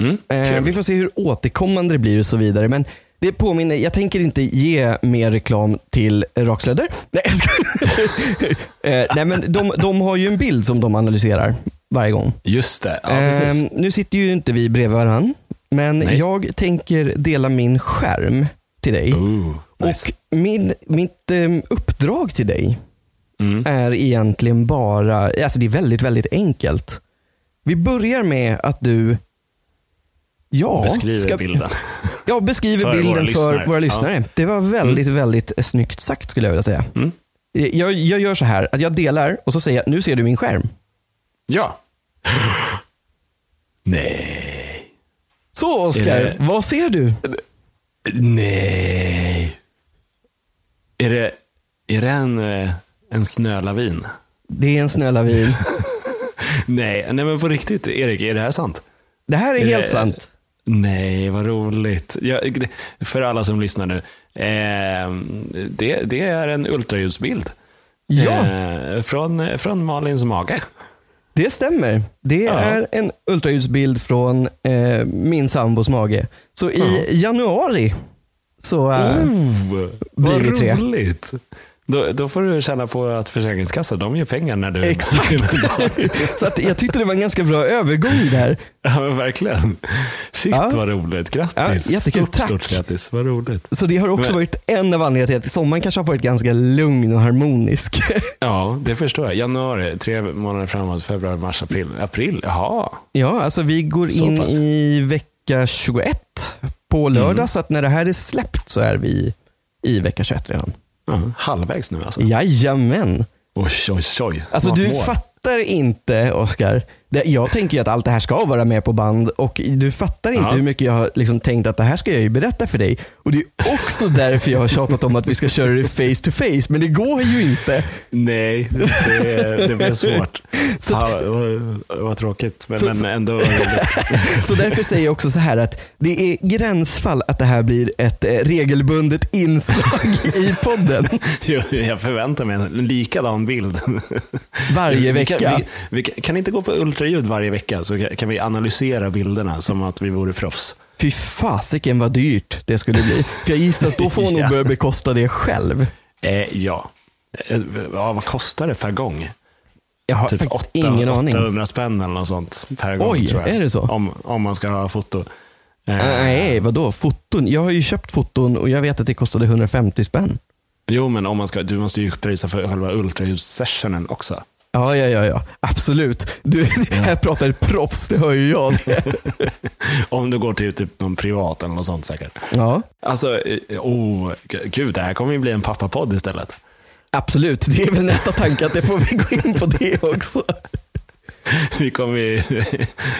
Speaker 2: Mm,
Speaker 1: Eh, vi
Speaker 2: trevligt.
Speaker 1: får se hur återkommande det blir och så vidare. Men det påminner, jag tänker inte ge mer reklam till Rakslöder. Nej, jag skojar. eh, nej men de, de har ju en bild som de analyserar varje gång.
Speaker 2: Just det, ja, precis.
Speaker 1: Eh, nu sitter ju inte vi bredvid varandra, men
Speaker 2: Nej.
Speaker 1: jag tänker dela min skärm till dig.
Speaker 2: Ooh, Oh, nice.
Speaker 1: Och min, mitt eh, uppdrag till dig
Speaker 2: Mm.
Speaker 1: är egentligen bara, alltså det är väldigt, väldigt enkelt. Vi börjar med att du Ja,
Speaker 2: Beskriver
Speaker 1: ska-
Speaker 2: bilden.
Speaker 1: Ja, beskriver
Speaker 2: för
Speaker 1: bilden
Speaker 2: våra
Speaker 1: för
Speaker 2: lyssnare.
Speaker 1: våra lyssnare. Det var väldigt, väldigt snyggt sagt skulle jag vilja säga.
Speaker 2: Mm.
Speaker 1: Jag, jag gör så här, att jag delar och så säger jag, nu ser du min skärm.
Speaker 2: Ja. Nej.
Speaker 1: Så Oskar,
Speaker 2: Är det-
Speaker 1: vad ser du?
Speaker 2: Nej. Är det, är det en, eh, en snölavin?
Speaker 1: Det är en snölavin.
Speaker 2: Nej, nej men på riktigt Erik, är det här sant?
Speaker 1: Det här är
Speaker 2: det-
Speaker 1: helt sant.
Speaker 2: Eh, Nej, vad roligt. Jag, för alla som lyssnar nu. Eh, det, det är en ultraljudsbild.
Speaker 1: Ja,
Speaker 2: Eh, från, från Malins mage.
Speaker 1: det stämmer. Det är en ultraljudsbild från eh, min sambos mage. Så i januari så... Eh,
Speaker 2: Oh,
Speaker 1: blir
Speaker 2: vad
Speaker 1: vi tre.
Speaker 2: roligt. Då, då får du känna på att Försäkringskassan, de ger pengar när du
Speaker 1: Exakt. så att jag tyckte det var en ganska bra övergång där.
Speaker 2: Ja, men verkligen. Shit
Speaker 1: Ja.
Speaker 2: vad roligt.
Speaker 1: Ja,
Speaker 2: Grattis.
Speaker 1: jättekul.
Speaker 2: stort,
Speaker 1: Tack.
Speaker 2: stort grattis. Vad roligt.
Speaker 1: Så det har också
Speaker 2: Men-
Speaker 1: varit en av anledningarna till att sommaren kanske har varit ganska lugn och harmonisk.
Speaker 2: Ja, det förstår jag. Januari, tre månader framåt, februari, mars, april. April, jaha.
Speaker 1: ja, alltså vi går
Speaker 2: Så
Speaker 1: in
Speaker 2: pass.
Speaker 1: i vecka 21 på lördag, så att när det här är släppt så är vi i vecka 21 redan.
Speaker 2: Ja, halvvägs nu alltså.
Speaker 1: Jajamän.
Speaker 2: Oj, oj, oj.
Speaker 1: Alltså
Speaker 2: Snart
Speaker 1: du
Speaker 2: mål.
Speaker 1: fattar inte, Oscar. Det- Jag tänker ju att allt det här ska vara med på band och du fattar inte
Speaker 2: Ja.
Speaker 1: hur mycket jag har liksom tänkt att det här ska jag ju berätta för dig. Och Det är också därför jag har tjatat om att vi ska köra det face to face, men det går ju inte.
Speaker 2: Nej, det, det blir svårt.
Speaker 1: Så-
Speaker 2: ja, vad, vad tråkigt, men,
Speaker 1: Så-
Speaker 2: men ändå roligt.
Speaker 1: Så därför säger jag också så här att det är gränsfall att det här blir ett eh, regelbundet inslag i podden
Speaker 2: Jag- Jag förväntar mig en likadan bild.
Speaker 1: varje
Speaker 2: Vi kan-
Speaker 1: vecka.
Speaker 2: Vi, vi, kan- kan inte gå på ultraljud varje vecka så kan- kan vi analysera bilderna som att vi vore proffs.
Speaker 1: Fy fasiken vad dyrt det skulle bli. För jag gissar att då får hon
Speaker 2: Ja.
Speaker 1: nog börja bekosta det själv.
Speaker 2: Eh, ja. Eh, ja, vad kostar det per gång?
Speaker 1: Jag har
Speaker 2: Typ
Speaker 1: faktiskt
Speaker 2: 8,
Speaker 1: ingen aning.
Speaker 2: 800 spänn eller något sånt per gång
Speaker 1: Oj,
Speaker 2: tror jag.
Speaker 1: är det så?
Speaker 2: Om, om man ska ha foto. Eh,
Speaker 1: Nej, vadå? Foton? Jag har ju köpt foton och jag vet att det kostade 150 spänn.
Speaker 2: Jo, men om man ska, du måste ju pröjsa för själva ultraljudssessionen också.
Speaker 1: Ja, ja, ja, ja. absolut. Du, här pratar ett proffs, det hör ju jag.
Speaker 2: Om du går till typ någon privat eller något sånt säkert.
Speaker 1: Ja,
Speaker 2: Alltså, eh, oh, g- gud, det här kommer ju bli en pappapodd istället.
Speaker 1: absolut. Det är väl nästa tanke att det får vi gå in på det också.
Speaker 2: Vi kommer ju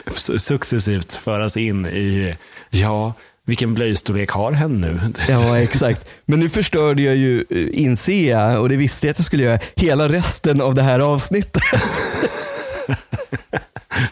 Speaker 2: su- successivt föras in i, ja, vilken blöjstorlek har hen nu?
Speaker 1: Ja, exakt. Men nu förstörde jag ju, eh, inser jag, och det visste jag att jag skulle göra, hela resten av det här avsnittet.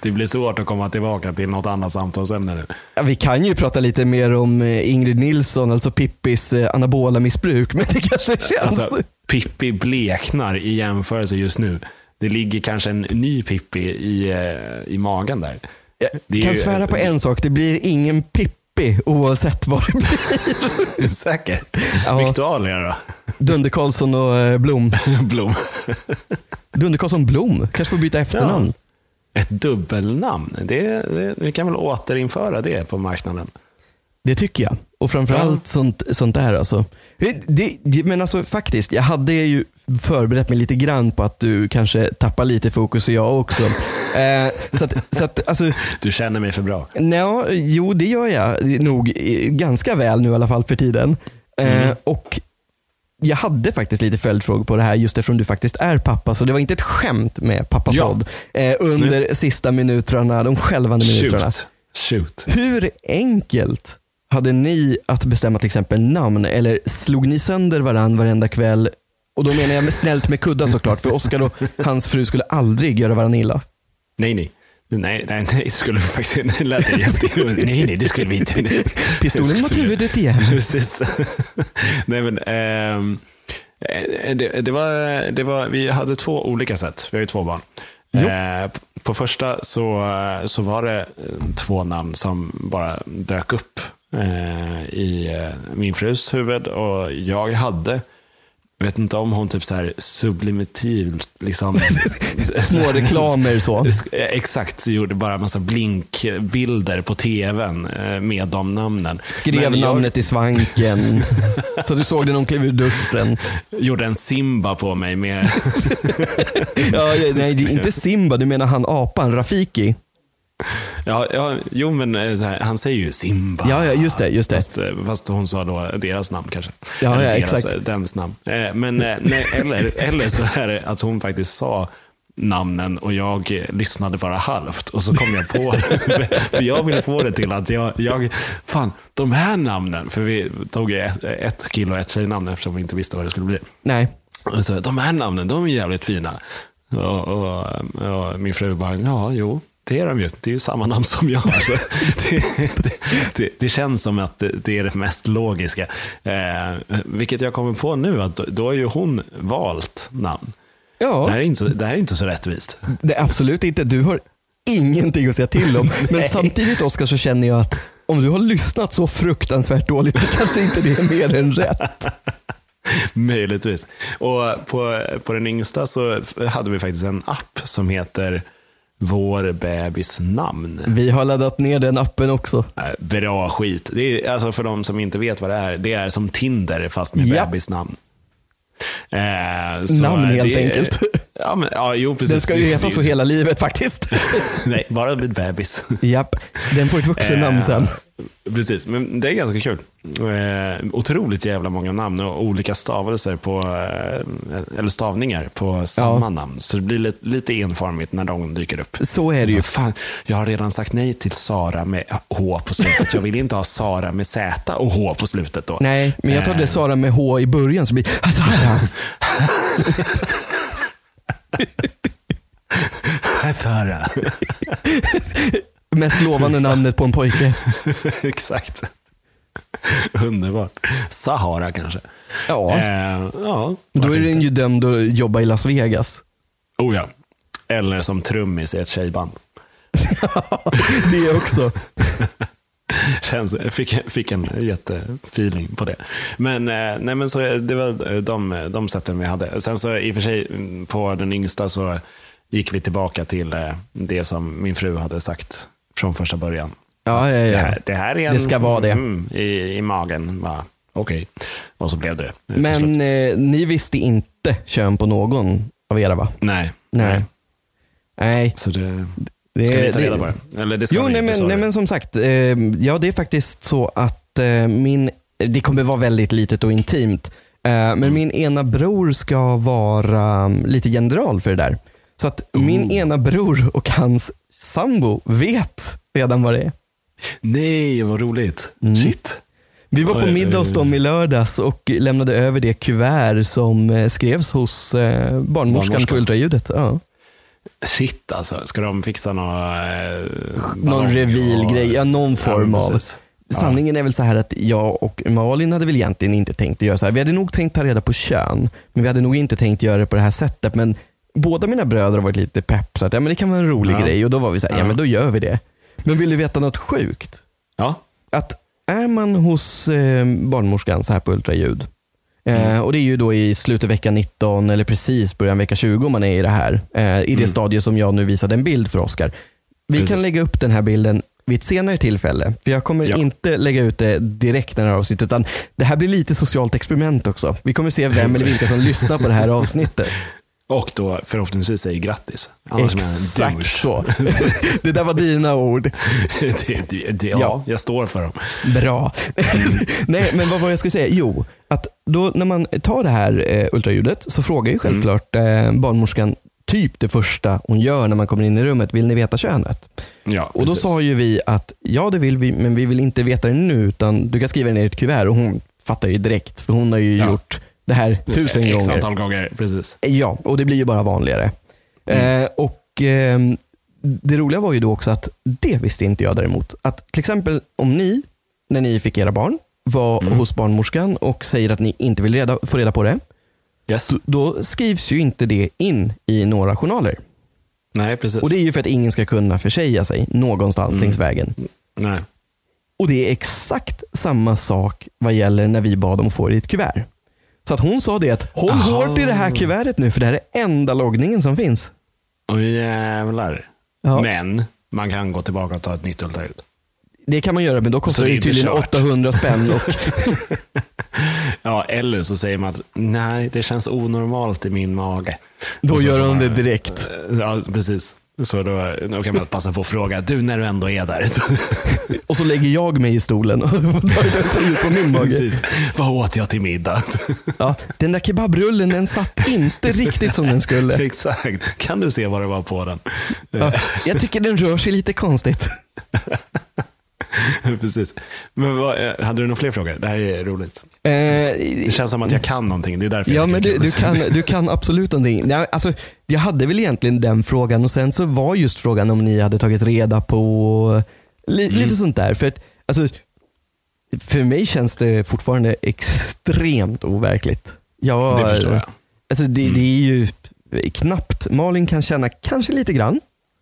Speaker 2: Det blir svårt att komma tillbaka till något annat samtalsämne nu.
Speaker 1: Ja, Vi kan ju prata lite mer om eh, Ingrid Nilsson, alltså Pippis eh, anabola missbruk, men det kanske känns...
Speaker 2: Alltså, Pippi bleknar i jämförelse just nu. Det ligger kanske en ny Pippi i, eh, i magen där.
Speaker 1: jag
Speaker 2: det är
Speaker 1: kan
Speaker 2: ju-
Speaker 1: svära på en sak, det blir ingen Pippi oavsett vad det blir.
Speaker 2: Säker?
Speaker 1: Ja.
Speaker 2: Victoria då?
Speaker 1: Dunder Karlsson och eh, Blom.
Speaker 2: Blom.
Speaker 1: Dunder Karlsson Blom, kanske får byta efternamn.
Speaker 2: Ett dubbelnamn, det, det, vi kan väl återinföra det på marknaden.
Speaker 1: Det tycker jag. Och framförallt sånt, sånt där alltså. Det- Det, det, men alltså faktiskt, jag hade ju förberett mig lite grann på att du kanske tappar lite fokus och jag också. eh, så att, så att alltså,
Speaker 2: Du känner mig för bra.
Speaker 1: nja, jo det gör jag nog eh, ganska väl nu i alla fall för tiden. Eh, Och jag hade faktiskt lite följdfrågor på det här just eftersom du faktiskt är pappa, så det var inte ett skämt med pappapodd eh, under sista minuterna, de skälvande minuterna.
Speaker 2: Shoot. Shoot.
Speaker 1: Hur enkelt hade ni att bestämma till exempel namn eller slog ni sönder varann varenda kväll? Och då menar jag med snällt med kuddar såklart, för Oskar och hans fru skulle aldrig göra varandra illa.
Speaker 2: Nej, nej. Nej, nej, nej, det skulle vi faktiskt det lät jätteroligt. Nej, nej, det skulle vi inte.
Speaker 1: Pistolen mot huvudet igen.
Speaker 2: Precis. Nej, men, ehm, eh, det, det var, det var, vi hade två olika sätt. Vi har ju två barn. Eh, på första så, så var det eh, två namn som bara dök upp eh, i eh, min frus huvud och jag hade vet inte om hon typ så här sublimativt liksom
Speaker 1: Små reklamer så.
Speaker 2: Sk- eh, Exakt, så gjorde bara massa blinkbilder på tvn eh, med de namnen.
Speaker 1: Skrev
Speaker 2: Men jag
Speaker 1: namnet i svanken. Så du såg det när hon klev ur duschen.
Speaker 2: gjorde en Simba på mig med...
Speaker 1: Ja, ja, nej, det är inte Simba, du menar han apan, Rafiki.
Speaker 2: ja, ja, jo, men eh, så här, han säger ju Simba.
Speaker 1: Ja, ja, just det, just det.
Speaker 2: Fast, eh, fast hon sa då deras namn kanske.
Speaker 1: Ja,
Speaker 2: eller
Speaker 1: ja,
Speaker 2: deras,
Speaker 1: exakt.
Speaker 2: eh, Dens namn. Eh, Men, eh, nej, eller, eller så är det att hon faktiskt sa namnen och jag eh, lyssnade bara halvt. Och så kom jag på, för jag ville få det till att jag, jag, fan, de här namnen, för vi tog ju ett, ett kille och ett tjejnamn eftersom vi inte visste vad det skulle bli.
Speaker 1: Nej.
Speaker 2: Och Så, de här namnen, de är jävligt fina. Och, och, och min fru bara, ja, jo. Det är de ju. Det är ju samma namn som jag. har." Så det, det, det, det känns som att det, det är det mest logiska. Eh, vilket jag kommer på nu, att då, då har ju hon valt namn.
Speaker 1: Ja,
Speaker 2: Det här, är inte så, det här är inte så rättvist.
Speaker 1: det är absolut inte. Du har ingenting att säga till om. Men
Speaker 2: Nej.
Speaker 1: samtidigt Oskar så känner jag att om du har lyssnat så fruktansvärt dåligt så kanske inte det är mer än rätt.
Speaker 2: Möjligtvis. Och på, på den yngsta så hade vi faktiskt en app som heter Vår bebis namn.
Speaker 1: Vi har laddat ner den appen också.
Speaker 2: Äh, Bra skit. Det är, alltså för de som inte vet vad det är, det är som Tinder fast med
Speaker 1: Ja.
Speaker 2: bebisnamn. Eh, så
Speaker 1: Namn, helt
Speaker 2: det är-
Speaker 1: enkelt.
Speaker 2: Ja, men, ja, jo, precis.
Speaker 1: Den ska ju
Speaker 2: Det-
Speaker 1: heta
Speaker 2: det-
Speaker 1: så hela livet faktiskt.
Speaker 2: Nej, bara vid bebis.
Speaker 1: Japp, den får ett vuxennamn sen.
Speaker 2: Eh, Precis, men det är ganska kul. Eh, otroligt jävla många namn och olika stavelser på, eh, eller stavningar på samma namn. Så det blir lite, lite enformigt när de dyker upp.
Speaker 1: Så är det ju.
Speaker 2: Fan, jag har redan sagt nej till Sara med H på slutet. Jag vill inte ha Sara med Z och H på slutet då.
Speaker 1: Nej, men jag trodde
Speaker 2: Eh,
Speaker 1: Sara med H i början så blir alltså, här,
Speaker 2: Eh, Sara.
Speaker 1: mest lovande namnet på en pojke.
Speaker 2: Exakt. Underbart. Sahara kanske.
Speaker 1: Ja,
Speaker 2: Eh, ja
Speaker 1: då
Speaker 2: varför
Speaker 1: är den ju dömd att jobba i Las Vegas.
Speaker 2: Oh ja. Eller som trummis i ett tjejband.
Speaker 1: Det också.
Speaker 2: Känns, fick, fick en jättefeeling på det. Men, eh, nej, men så, eh, det var eh, de, de sätten vi hade. Sen så i och för sig, mm, på den yngsta så gick vi tillbaka till eh, det som min fru hade sagt från första början.
Speaker 1: Ja,
Speaker 2: Att
Speaker 1: Eh, ja, ja.
Speaker 2: Det, här, det här är en...
Speaker 1: Det ska vara det.
Speaker 2: Mm, i, I magen. Va? Okej. Och så blev det eh, till slut.
Speaker 1: Men eh, ni visste inte kön på någon av era va?
Speaker 2: Nej.
Speaker 1: Nej. Nej.
Speaker 2: Så det,
Speaker 1: Det,
Speaker 2: ska vi ta reda
Speaker 1: det-
Speaker 2: på det? Eller det ska
Speaker 1: Jo,
Speaker 2: vi,
Speaker 1: nej
Speaker 2: det
Speaker 1: men,
Speaker 2: sa
Speaker 1: nej
Speaker 2: du.
Speaker 1: men som sagt. Eh, ja, det är faktiskt så att eh, min, det kommer vara väldigt litet och intimt. Eh, men
Speaker 2: Mm.
Speaker 1: min ena bror ska vara um, lite general för det där. Så att min ena bror och hans sambo vet redan vad det är.
Speaker 2: Nej, vad roligt.
Speaker 1: Mm.
Speaker 2: Shit.
Speaker 1: Vi var på
Speaker 2: Oj,
Speaker 1: middag hos
Speaker 2: oj,
Speaker 1: dem i lördags och lämnade över det kuvert som eh, skrevs hos eh, barnmorskan på
Speaker 2: Barnmorskan.
Speaker 1: ultraljudet. Ja.
Speaker 2: Shit alltså, ska de fixa någon... Eh,
Speaker 1: Någon
Speaker 2: ballong
Speaker 1: reveal-grej, ja, någon form
Speaker 2: men
Speaker 1: av.
Speaker 2: precis.
Speaker 1: Sanningen är väl så här att jag och Malin hade väl egentligen inte tänkt att göra så här. Vi hade nog tänkt ta reda på kön, men vi hade nog inte tänkt göra det på det här sättet. Men båda mina bröder har varit lite pepp, så att, ja, men det kan vara en rolig
Speaker 2: Ja.
Speaker 1: grej. Och då var vi så här, ja.
Speaker 2: Ja.
Speaker 1: men då gör vi det. Men vill du veta något sjukt?
Speaker 2: Ja.
Speaker 1: Att är man hos eh, barnmorskan så här på ultraljud,
Speaker 2: Mm.
Speaker 1: eh, och det är ju då i slutet av vecka 19 eller precis början av vecka 20 om man är i det här, eh, i det stadie som jag nu visade en bild för Oskar. Vi kan
Speaker 2: Mm. Precis.
Speaker 1: lägga upp den här bilden vid ett senare tillfälle. För jag kommer
Speaker 2: Ja.
Speaker 1: inte lägga ut det direkt när det här avsnittet, utan det här blir lite socialt experiment också. Vi kommer se vem eller vilka som lyssnar på det här avsnittet.
Speaker 2: Och då förhoppningsvis säger grattis. Annars är jag en
Speaker 1: Exakt så.
Speaker 2: douche.
Speaker 1: Det där var dina ord.
Speaker 2: det, det, det, ja,
Speaker 1: Ja.
Speaker 2: jag står för dem.
Speaker 1: Bra. Nej, men vad var jag skulle säga? Jo, att då när man tar det här eh, ultraljudet så
Speaker 2: Mm.
Speaker 1: frågar ju självklart eh, barnmorskan typ det första hon gör när man kommer in i rummet. Vill ni veta könet?
Speaker 2: Ja,
Speaker 1: Och då
Speaker 2: precis.
Speaker 1: sa ju vi att ja, det vill vi, men vi vill inte veta det nu, utan du kan skriva det ner i ett kuvert. Och hon fattar ju direkt, för hon har ju
Speaker 2: Ja.
Speaker 1: gjort det här tusen
Speaker 2: X
Speaker 1: gånger.
Speaker 2: antal gånger, precis.
Speaker 1: Ja, och det blir ju bara vanligare. Eh, och eh, Det roliga var ju då också att det visste inte jag däremot. Att till exempel om ni, när ni fick era barn, var hos barnmorskan och säger att ni inte vill reda, få reda på det.
Speaker 2: Yes.
Speaker 1: Då, då skrivs ju inte det in i några journaler.
Speaker 2: Nej, precis.
Speaker 1: Och Det är ju för att ingen ska kunna försäga sig någonstans längs vägen.
Speaker 2: Nej.
Speaker 1: Och det är exakt samma sak vad gäller när vi bad om att få det i ett kuvert. Så att hon sa det att håll hårt i det här kuvertet nu för det här är enda loggningen som finns.
Speaker 2: Och jävlar.
Speaker 1: Ja.
Speaker 2: Men man kan gå tillbaka och ta ett nytt ultraljud.
Speaker 1: Det kan man göra, men då kostar
Speaker 2: det
Speaker 1: det,
Speaker 2: är
Speaker 1: ju
Speaker 2: inte
Speaker 1: tydligen
Speaker 2: kört.
Speaker 1: 800 spänn. Och,
Speaker 2: Ja, eller så säger man att nej, det känns onormalt i min mage.
Speaker 1: Då
Speaker 2: Och så
Speaker 1: gör
Speaker 2: får
Speaker 1: de
Speaker 2: man-
Speaker 1: det direkt.
Speaker 2: Ja, precis. Så då, då kan man passa på att fråga, du när du ändå är där.
Speaker 1: Och så lägger jag mig i stolen och tar ut på min mage.
Speaker 2: Precis. Vad åt jag till middag?
Speaker 1: Ja, den där kebabrullen den satt inte riktigt som den skulle.
Speaker 2: Exakt. Kan du se vad det var på den?
Speaker 1: Ja, jag tycker den rör sig lite konstigt.
Speaker 2: Precis. Men vad, eh, hade du några fler frågor? Det här är roligt.
Speaker 1: Eh,
Speaker 2: Det känns som att jag kan någonting. Det är därför
Speaker 1: Ja,
Speaker 2: jag tycker
Speaker 1: men
Speaker 2: det är
Speaker 1: du,
Speaker 2: kul.
Speaker 1: du, kan, du kan absolut någonting. Ja, alltså, jag hade väl egentligen den frågan och sen så var just frågan om ni hade tagit reda på li,
Speaker 2: Mm.
Speaker 1: lite sånt där. För, att, alltså, för mig känns det fortfarande extremt overkligt. Jag,
Speaker 2: Det förstår jag. Mm.
Speaker 1: Alltså, det, det är ju knappt. Malin kan känna kanske lite grann.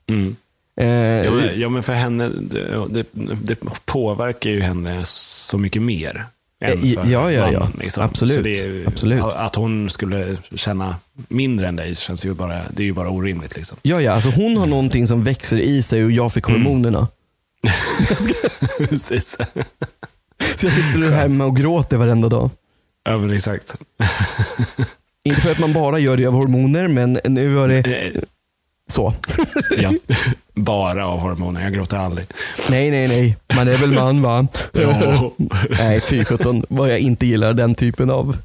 Speaker 2: Mm.
Speaker 1: Eh,
Speaker 2: Ja, men- Ja, men för henne, det, det, det påverkar ju henne så mycket mer.
Speaker 1: Eh,
Speaker 2: Än för
Speaker 1: ja, ja, ja.
Speaker 2: mannen, liksom.
Speaker 1: Absolut,
Speaker 2: Så det är ju-
Speaker 1: absolut.
Speaker 2: Att hon skulle känna mindre än dig, känns ju bara, det är ju bara orimligt. Liksom.
Speaker 1: ja, ja, alltså, hon har någonting som växer i sig och jag fick
Speaker 2: Mm.
Speaker 1: hormonerna.
Speaker 2: Precis.
Speaker 1: Så jag sitter hemma och gråter varenda dag.
Speaker 2: Ja, men exakt.
Speaker 1: Inte för att man bara gör det av hormoner, men nu har det
Speaker 2: Eh,
Speaker 1: så.
Speaker 2: Ja. Bara av hormoner, jag gråter aldrig.
Speaker 1: Nej, nej, nej. Man är väl man va? Eh,
Speaker 2: Ja.
Speaker 1: nej, fy sjutton vad jag inte gillar den typen av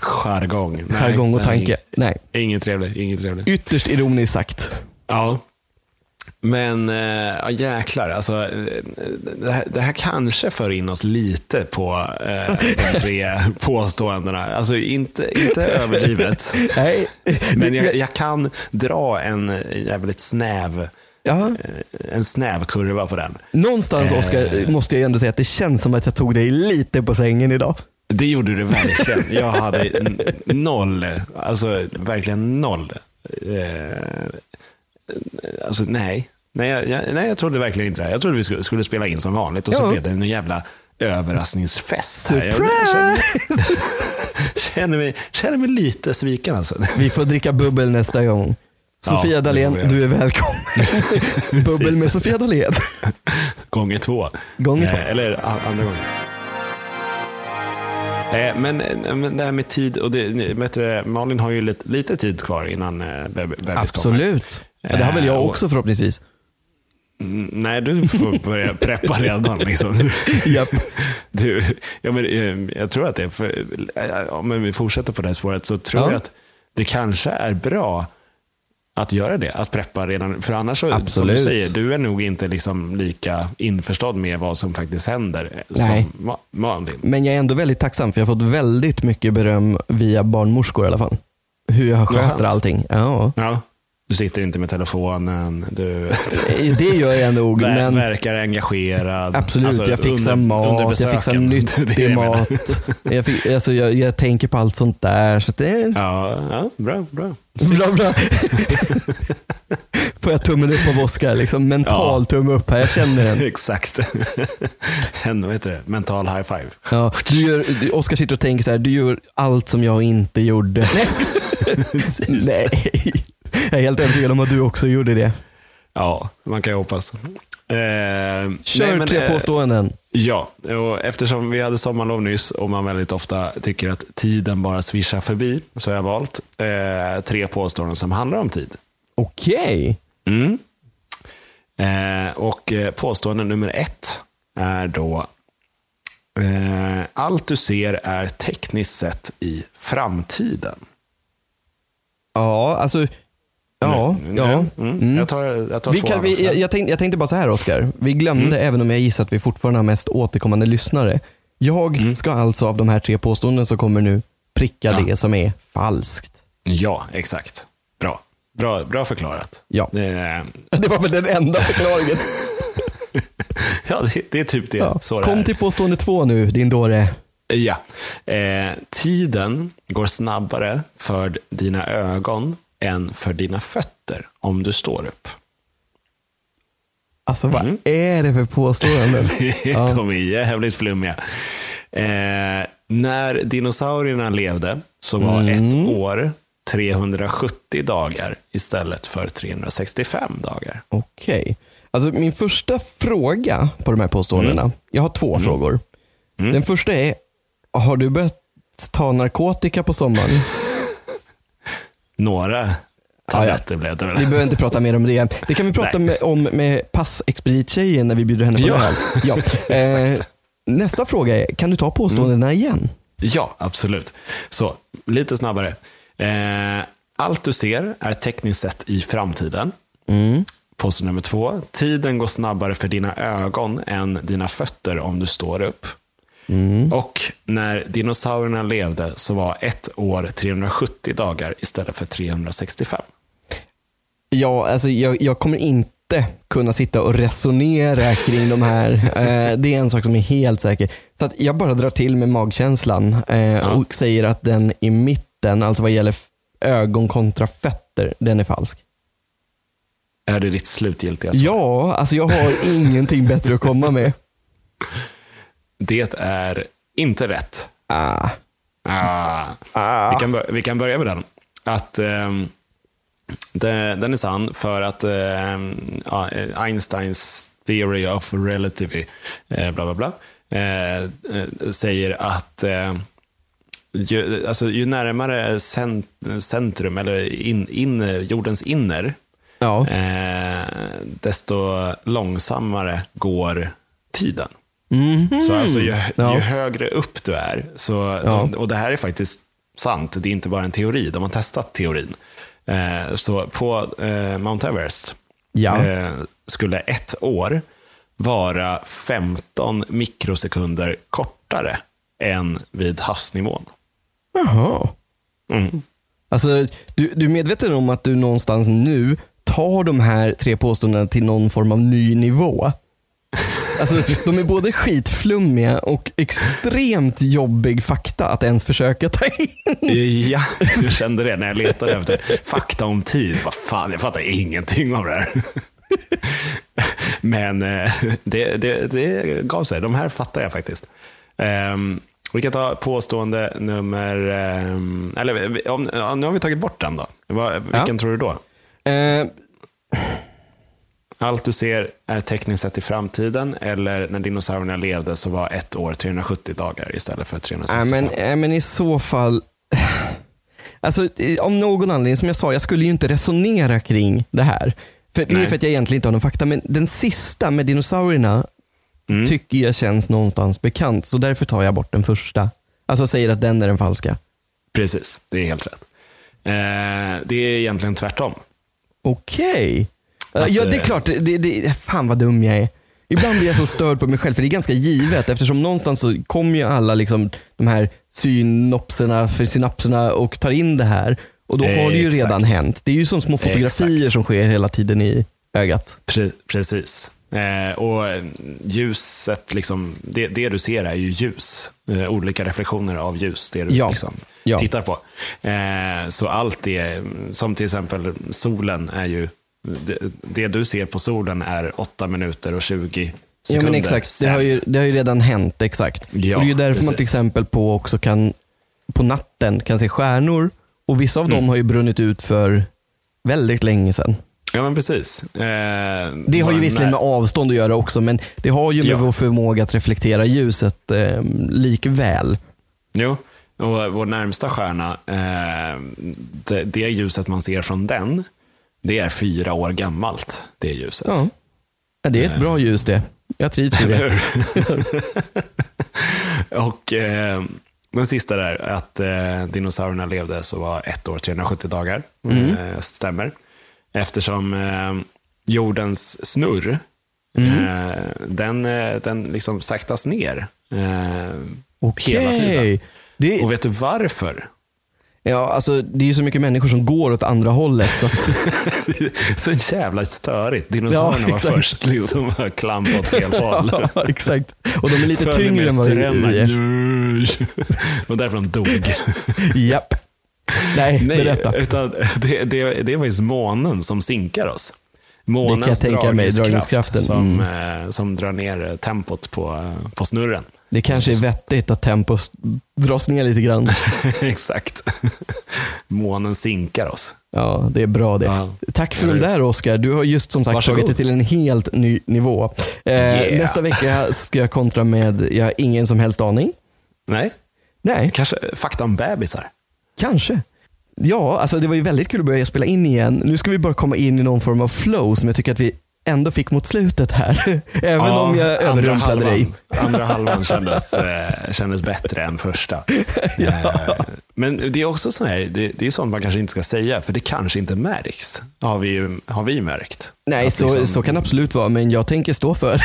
Speaker 2: Jargong. Nej,
Speaker 1: jargong och
Speaker 2: nej,
Speaker 1: tanke. Nej,
Speaker 2: Inget trevligt. Inget trevligt.
Speaker 1: ytterst ironiskt sagt.
Speaker 2: Ja. Men eh, ja, jäklar, alltså, eh, det, här, det här kanske för in oss lite på eh, de tre påståendena. Alltså inte, inte överdrivet,
Speaker 1: Nej.
Speaker 2: men jag, jag kan dra en eh, jävligt snäv, eh,
Speaker 1: Ja,
Speaker 2: en snäv kurva på den.
Speaker 1: någonstans
Speaker 2: Eh.
Speaker 1: Oskar, måste jag ändå säga att det känns som att jag tog dig lite på sängen idag.
Speaker 2: Det gjorde du verkligen. Jag hade n- noll, alltså verkligen noll. Eh, alltså nej. Nej jag, jag, nej, jag trodde verkligen inte det. här. Jag trodde vi skulle, skulle spela in som vanligt och så
Speaker 1: Ja.
Speaker 2: blev det en jävla överraskningsfest. Här. Jag
Speaker 1: Surprise!
Speaker 2: känner, känner, mig, känner mig lite sviken alltså.
Speaker 1: Vi får dricka bubbel nästa gång.
Speaker 2: Ja,
Speaker 1: Sofia
Speaker 2: det
Speaker 1: Dalén,
Speaker 2: får vi göra.
Speaker 1: du är välkommen. bubbel med Sofia Dalén.
Speaker 2: Gånger två.
Speaker 1: Gånger två.
Speaker 2: Eh, eller a- andra gången. Eh, men, eh, men det här med tid och det, ni- vet du, det, Malin har ju lite, lite tid kvar innan eh, beb- bebis kommer. Eh,
Speaker 1: Ja, det har väl jag också förhoppningsvis.
Speaker 2: Mm, Nej, du får börja preppa redan. Liksom.
Speaker 1: Japp.
Speaker 2: Du, ja, men, eh, jag tror att det, är för, eh, om vi fortsätter på det här spåret, så tror
Speaker 1: Ja.
Speaker 2: jag att det kanske är bra att göra det, att preppa redan. För annars, så, som du
Speaker 1: Absolut.
Speaker 2: säger, du är nog inte liksom lika införstådd med vad som faktiskt händer eh,
Speaker 1: Nej.
Speaker 2: som Ma- Malin.
Speaker 1: Men jag är ändå väldigt tacksam för jag har fått väldigt mycket beröm via barnmorskor i alla fall. Hur jag sköter
Speaker 2: Skönt.
Speaker 1: allting. Ja.
Speaker 2: Ja. Du sitter inte med telefonen, du,
Speaker 1: Det gör jag nog,
Speaker 2: du ver-
Speaker 1: men
Speaker 2: verkar engagerad.
Speaker 1: absolut.
Speaker 2: Alltså,
Speaker 1: jag fixar
Speaker 2: under- under
Speaker 1: mat, jag fixar
Speaker 2: besöken. Det är det
Speaker 1: nyttig
Speaker 2: jag menar.
Speaker 1: mat. Jag, fix, alltså, jag, jag tänker på allt sånt där. Så att det är
Speaker 2: Ja, ja, bra, bra.
Speaker 1: bra, bra. Får jag tummen upp av Oskar? Liksom, mental tumme upp här, jag känner den.
Speaker 2: Exakt. En, vad heter det? Mental high five.
Speaker 1: Ja, du gör, du- Oskar sitter och tänker så här, du gör allt som jag inte gjorde. Nej, jag ska- Nej. jag är helt övertygad om att du också gjorde det.
Speaker 2: Ja, man kan ju hoppas. Eh,
Speaker 1: Kör
Speaker 2: nej, men,
Speaker 1: tre
Speaker 2: eh,
Speaker 1: påståenden.
Speaker 2: Ja, och eftersom vi hade sommarlov nyss och man väldigt ofta tycker att tiden bara svischar förbi så har jag valt eh, tre påståenden som handlar om tid.
Speaker 1: Okej.
Speaker 2: Mm. Eh, och eh, påstående nummer ett är då eh, allt du ser är tekniskt sett i framtiden.
Speaker 1: Ja, alltså. Ja, ja.
Speaker 2: Mm. Jag tar, jag tar
Speaker 1: Vi
Speaker 2: tvåan
Speaker 1: kan, vi,
Speaker 2: också.
Speaker 1: jag, Mm. jag, tänkte, jag tänkte bara så här Oskar. Vi glömde, även om jag gissar att vi fortfarande har mest återkommande lyssnare. Jag ska alltså av de här tre påståenden som kommer nu pricka det som är falskt.
Speaker 2: Ja, exakt. Bra. Bra, bra förklarat.
Speaker 1: Ja.
Speaker 2: Eh,
Speaker 1: Det var väl den enda förklaringen.
Speaker 2: ja, det, det är typ det.
Speaker 1: Ja.
Speaker 2: Så det
Speaker 1: Kom
Speaker 2: är.
Speaker 1: till påstående två nu, din dåre.
Speaker 2: Ja. Eh, tiden går snabbare för dina ögon än för dina fötter om du står upp.
Speaker 1: Alltså vad
Speaker 2: Mm.
Speaker 1: är det för påståenden?
Speaker 2: De är jävligt flummiga. Eh, när dinosaurierna levde så var
Speaker 1: Mm.
Speaker 2: ett år 370 dagar istället för 365 dagar.
Speaker 1: Okej. Alltså min första fråga på de här påståendena.
Speaker 2: Mm.
Speaker 1: Jag har två frågor. Den första är, har du börjat ta narkotika på sommaren?
Speaker 2: Några Tabletter blev det
Speaker 1: Vi
Speaker 2: väl.
Speaker 1: behöver inte prata mer om det. Det kan vi prata med, om med passexpedittjejen när vi bjuder henne på
Speaker 2: Ja,
Speaker 1: öl. Ja, eh,
Speaker 2: exakt. Mm.
Speaker 1: nästa fråga är, kan du ta påståendena igen?
Speaker 2: Ja, absolut. Så, lite snabbare. Eh, allt du ser är tekniskt sett i framtiden.
Speaker 1: Mm.
Speaker 2: Påstående nummer två. Tiden går snabbare för dina ögon än dina fötter om du står upp.
Speaker 1: Mm.
Speaker 2: Och när dinosaurierna levde så var ett år 370 dagar istället för 365.
Speaker 1: Ja, alltså jag, jag kommer inte kunna sitta och resonera kring de här. Eh, det är en sak som är helt säker. Så att jag bara drar till med magkänslan eh, och säger att den i mitten, alltså vad gäller f- ögon kontra fötter, den är falsk.
Speaker 2: Är det ditt slutgiltiga svar?
Speaker 1: Ja, alltså jag har ingenting bättre att komma med.
Speaker 2: Det är inte rätt.
Speaker 1: Ah.
Speaker 2: Ah. Vi, kan bör- vi kan börja med den. Att, ehm, det, den är sann för att ehm, ja, eh, Einsteins theory of relativity, eh, bla bla bla, eh, eh, säger att eh, ju, alltså, ju närmare cent- centrum, eller in, inner, jordens inner,
Speaker 1: Ja.
Speaker 2: eh, desto långsammare går tiden. Så alltså, ju,
Speaker 1: Mhm. Ja.
Speaker 2: ju högre upp du är, så, de, och det här är faktiskt sant, det är inte bara en teori, de har testat teorin. Eh, så på eh, Mount Everest
Speaker 1: Ja.
Speaker 2: eh, skulle ett år vara 15 mikrosekunder kortare än vid havsnivån.
Speaker 1: Jaha.
Speaker 2: Mm.
Speaker 1: Alltså, du, du är medveten om att du någonstans nu tar de här tre påståendena till någon form av ny nivå? Alltså, de är både skitflummiga och extremt jobbig fakta att ens försöka ta in.
Speaker 2: Eh, Ja, jag kände det när jag letade efter fakta om tid. Vad fan, jag fattar ingenting av det här. Men eh, det, det, det gav sig. De här fattar jag faktiskt. Ehm, Vi kan ta påstående nummer... ehm, Eller vi- om, ja, nu har vi tagit bort den då. Vad- Vilken
Speaker 1: Ja.
Speaker 2: tror du då?
Speaker 1: Eh,
Speaker 2: Allt du ser är tekniskt sett i framtiden eller när dinosaurierna levde så var ett år 370 dagar istället för 365.
Speaker 1: Nej men, nej, men i så fall. Alltså, i- om någon anledning, som jag sa, jag skulle ju inte resonera kring det här. För Det är
Speaker 2: Nej.
Speaker 1: för att jag egentligen inte har någon fakta, men den sista med dinosaurierna tycker jag känns någonstans bekant. Så därför tar jag bort den första. Alltså säger att den är den falska.
Speaker 2: Precis, det är helt rätt. Eh, Det är egentligen tvärtom.
Speaker 1: Okej.
Speaker 2: Att,
Speaker 1: Ja, det är
Speaker 2: eh,
Speaker 1: klart. Det, det, fan vad dum jag är. Ibland blir jag så störd på mig själv, för det är ganska givet. Eftersom någonstans så kommer ju alla liksom, de här synopserna, för synapserna och tar in det här. Och då har det ju
Speaker 2: Exakt.
Speaker 1: redan hänt. Det är ju som små fotografier som sker hela tiden i ögat.
Speaker 2: Pre- precis. Eh, och eh, ljuset, liksom, det, det du ser är ju ljus. Eh, olika reflektioner av ljus, det du
Speaker 1: Ja.
Speaker 2: liksom
Speaker 1: Ja.
Speaker 2: tittar på. Eh, så allt det, som till exempel solen, är ju... Det, det du ser på solen är 8 minuter och 20
Speaker 1: Ja
Speaker 2: sekunder.
Speaker 1: men exakt, det har, ju, det har ju redan hänt. Exakt.
Speaker 2: Ja,
Speaker 1: och det är ju därför man till
Speaker 2: precis.
Speaker 1: exempel på också kan, på natten kan se stjärnor. Och vissa av
Speaker 2: Mm.
Speaker 1: dem har ju brunnit ut för väldigt länge sedan.
Speaker 2: Ja, men precis. Eh,
Speaker 1: Det har ju
Speaker 2: man-
Speaker 1: visserligen med avstånd att göra också, men det har ju med
Speaker 2: Ja.
Speaker 1: vår förmåga att reflektera ljuset eh, likväl.
Speaker 2: Jo, och vår närmsta stjärna, eh, det, det ljuset man ser från den, det är fyra år gammalt, det ljuset.
Speaker 1: Ja. Ja, det är
Speaker 2: Eh.
Speaker 1: ett bra ljus det. Jag trivs i det.
Speaker 2: Och eh, den sista där, att eh, dinosaurierna levde så var ett år 370 dagar.
Speaker 1: Mm.
Speaker 2: Eh, stämmer. Eftersom eh, jordens snurr,
Speaker 1: Mm.
Speaker 2: eh, den, eh, den liksom saktas ner eh, hela tiden.
Speaker 1: Okej. Det,
Speaker 2: Och vet du varför?
Speaker 1: ja, alltså, det är ju så mycket människor som går åt andra hållet. Så att,
Speaker 2: så jävla störigt. Dinosaurierna
Speaker 1: Ja,
Speaker 2: var
Speaker 1: exakt.
Speaker 2: först liksom bara klampa åt fel håll.
Speaker 1: ja, exakt. Och de är lite
Speaker 2: Följde
Speaker 1: tyngre
Speaker 2: med
Speaker 1: än vad
Speaker 2: strömmen.
Speaker 1: vi är.
Speaker 2: Det var därför de dog.
Speaker 1: Japp. Nej,
Speaker 2: Nej,
Speaker 1: berätta.
Speaker 2: utan det, det, det är faktiskt månen som sinkar oss. Månens
Speaker 1: Det kan jag tänka mig, dragningskraften. Mm.
Speaker 2: som, eh, som drar ner tempot på, eh, på snurren.
Speaker 1: Det kanske är vettigt att tempot dras ner lite grann.
Speaker 2: Exakt. Månen sinkar oss.
Speaker 1: Ja, det är bra det.
Speaker 2: Ja.
Speaker 1: Tack för
Speaker 2: Ja,
Speaker 1: de
Speaker 2: det-
Speaker 1: där Oskar. Du har just som sagt
Speaker 2: Varsågod.
Speaker 1: tagit det till en helt ny nivå. Eh,
Speaker 2: Yeah.
Speaker 1: Nästa vecka ska jag kontra med, jag har ingen som helst aning.
Speaker 2: Nej,
Speaker 1: Nej,
Speaker 2: kanske fakta om bebisar.
Speaker 1: kanske. Ja, alltså det var ju väldigt kul att börja spela in igen. Nu ska vi bara komma in i någon form av flow som jag tycker att vi ändå fick mot slutet här. Även
Speaker 2: Ja,
Speaker 1: om jag
Speaker 2: andra
Speaker 1: överrumplade
Speaker 2: halvan-
Speaker 1: dig.
Speaker 2: Andra halvan kändes, eh, kändes bättre än första. Eh, men det är också så här, det, det är sånt man kanske inte ska säga, för det kanske inte märks. Har vi, ju- har vi märkt.
Speaker 1: Nej,
Speaker 2: Att
Speaker 1: så,
Speaker 2: liksom-
Speaker 1: så kan det absolut vara, men jag tänker stå för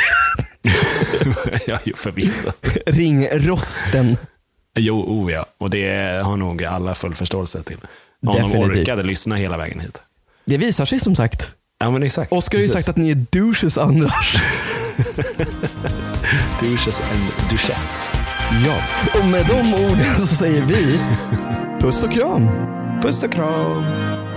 Speaker 2: ja, jo, förvisso.
Speaker 1: ringrosten.
Speaker 2: Jo, oh ja. Och det har nog alla full förståelse till. Om de
Speaker 1: Definitivt.
Speaker 2: orkade lyssna hela vägen hit.
Speaker 1: Det visar sig som sagt.
Speaker 2: Ja, men exakt.
Speaker 1: Oskar har ju sagt att ni är douches annars.
Speaker 2: Douches and duchettes.
Speaker 1: Ja. Och med de orden så säger vi puss och kram.
Speaker 2: Puss och kram!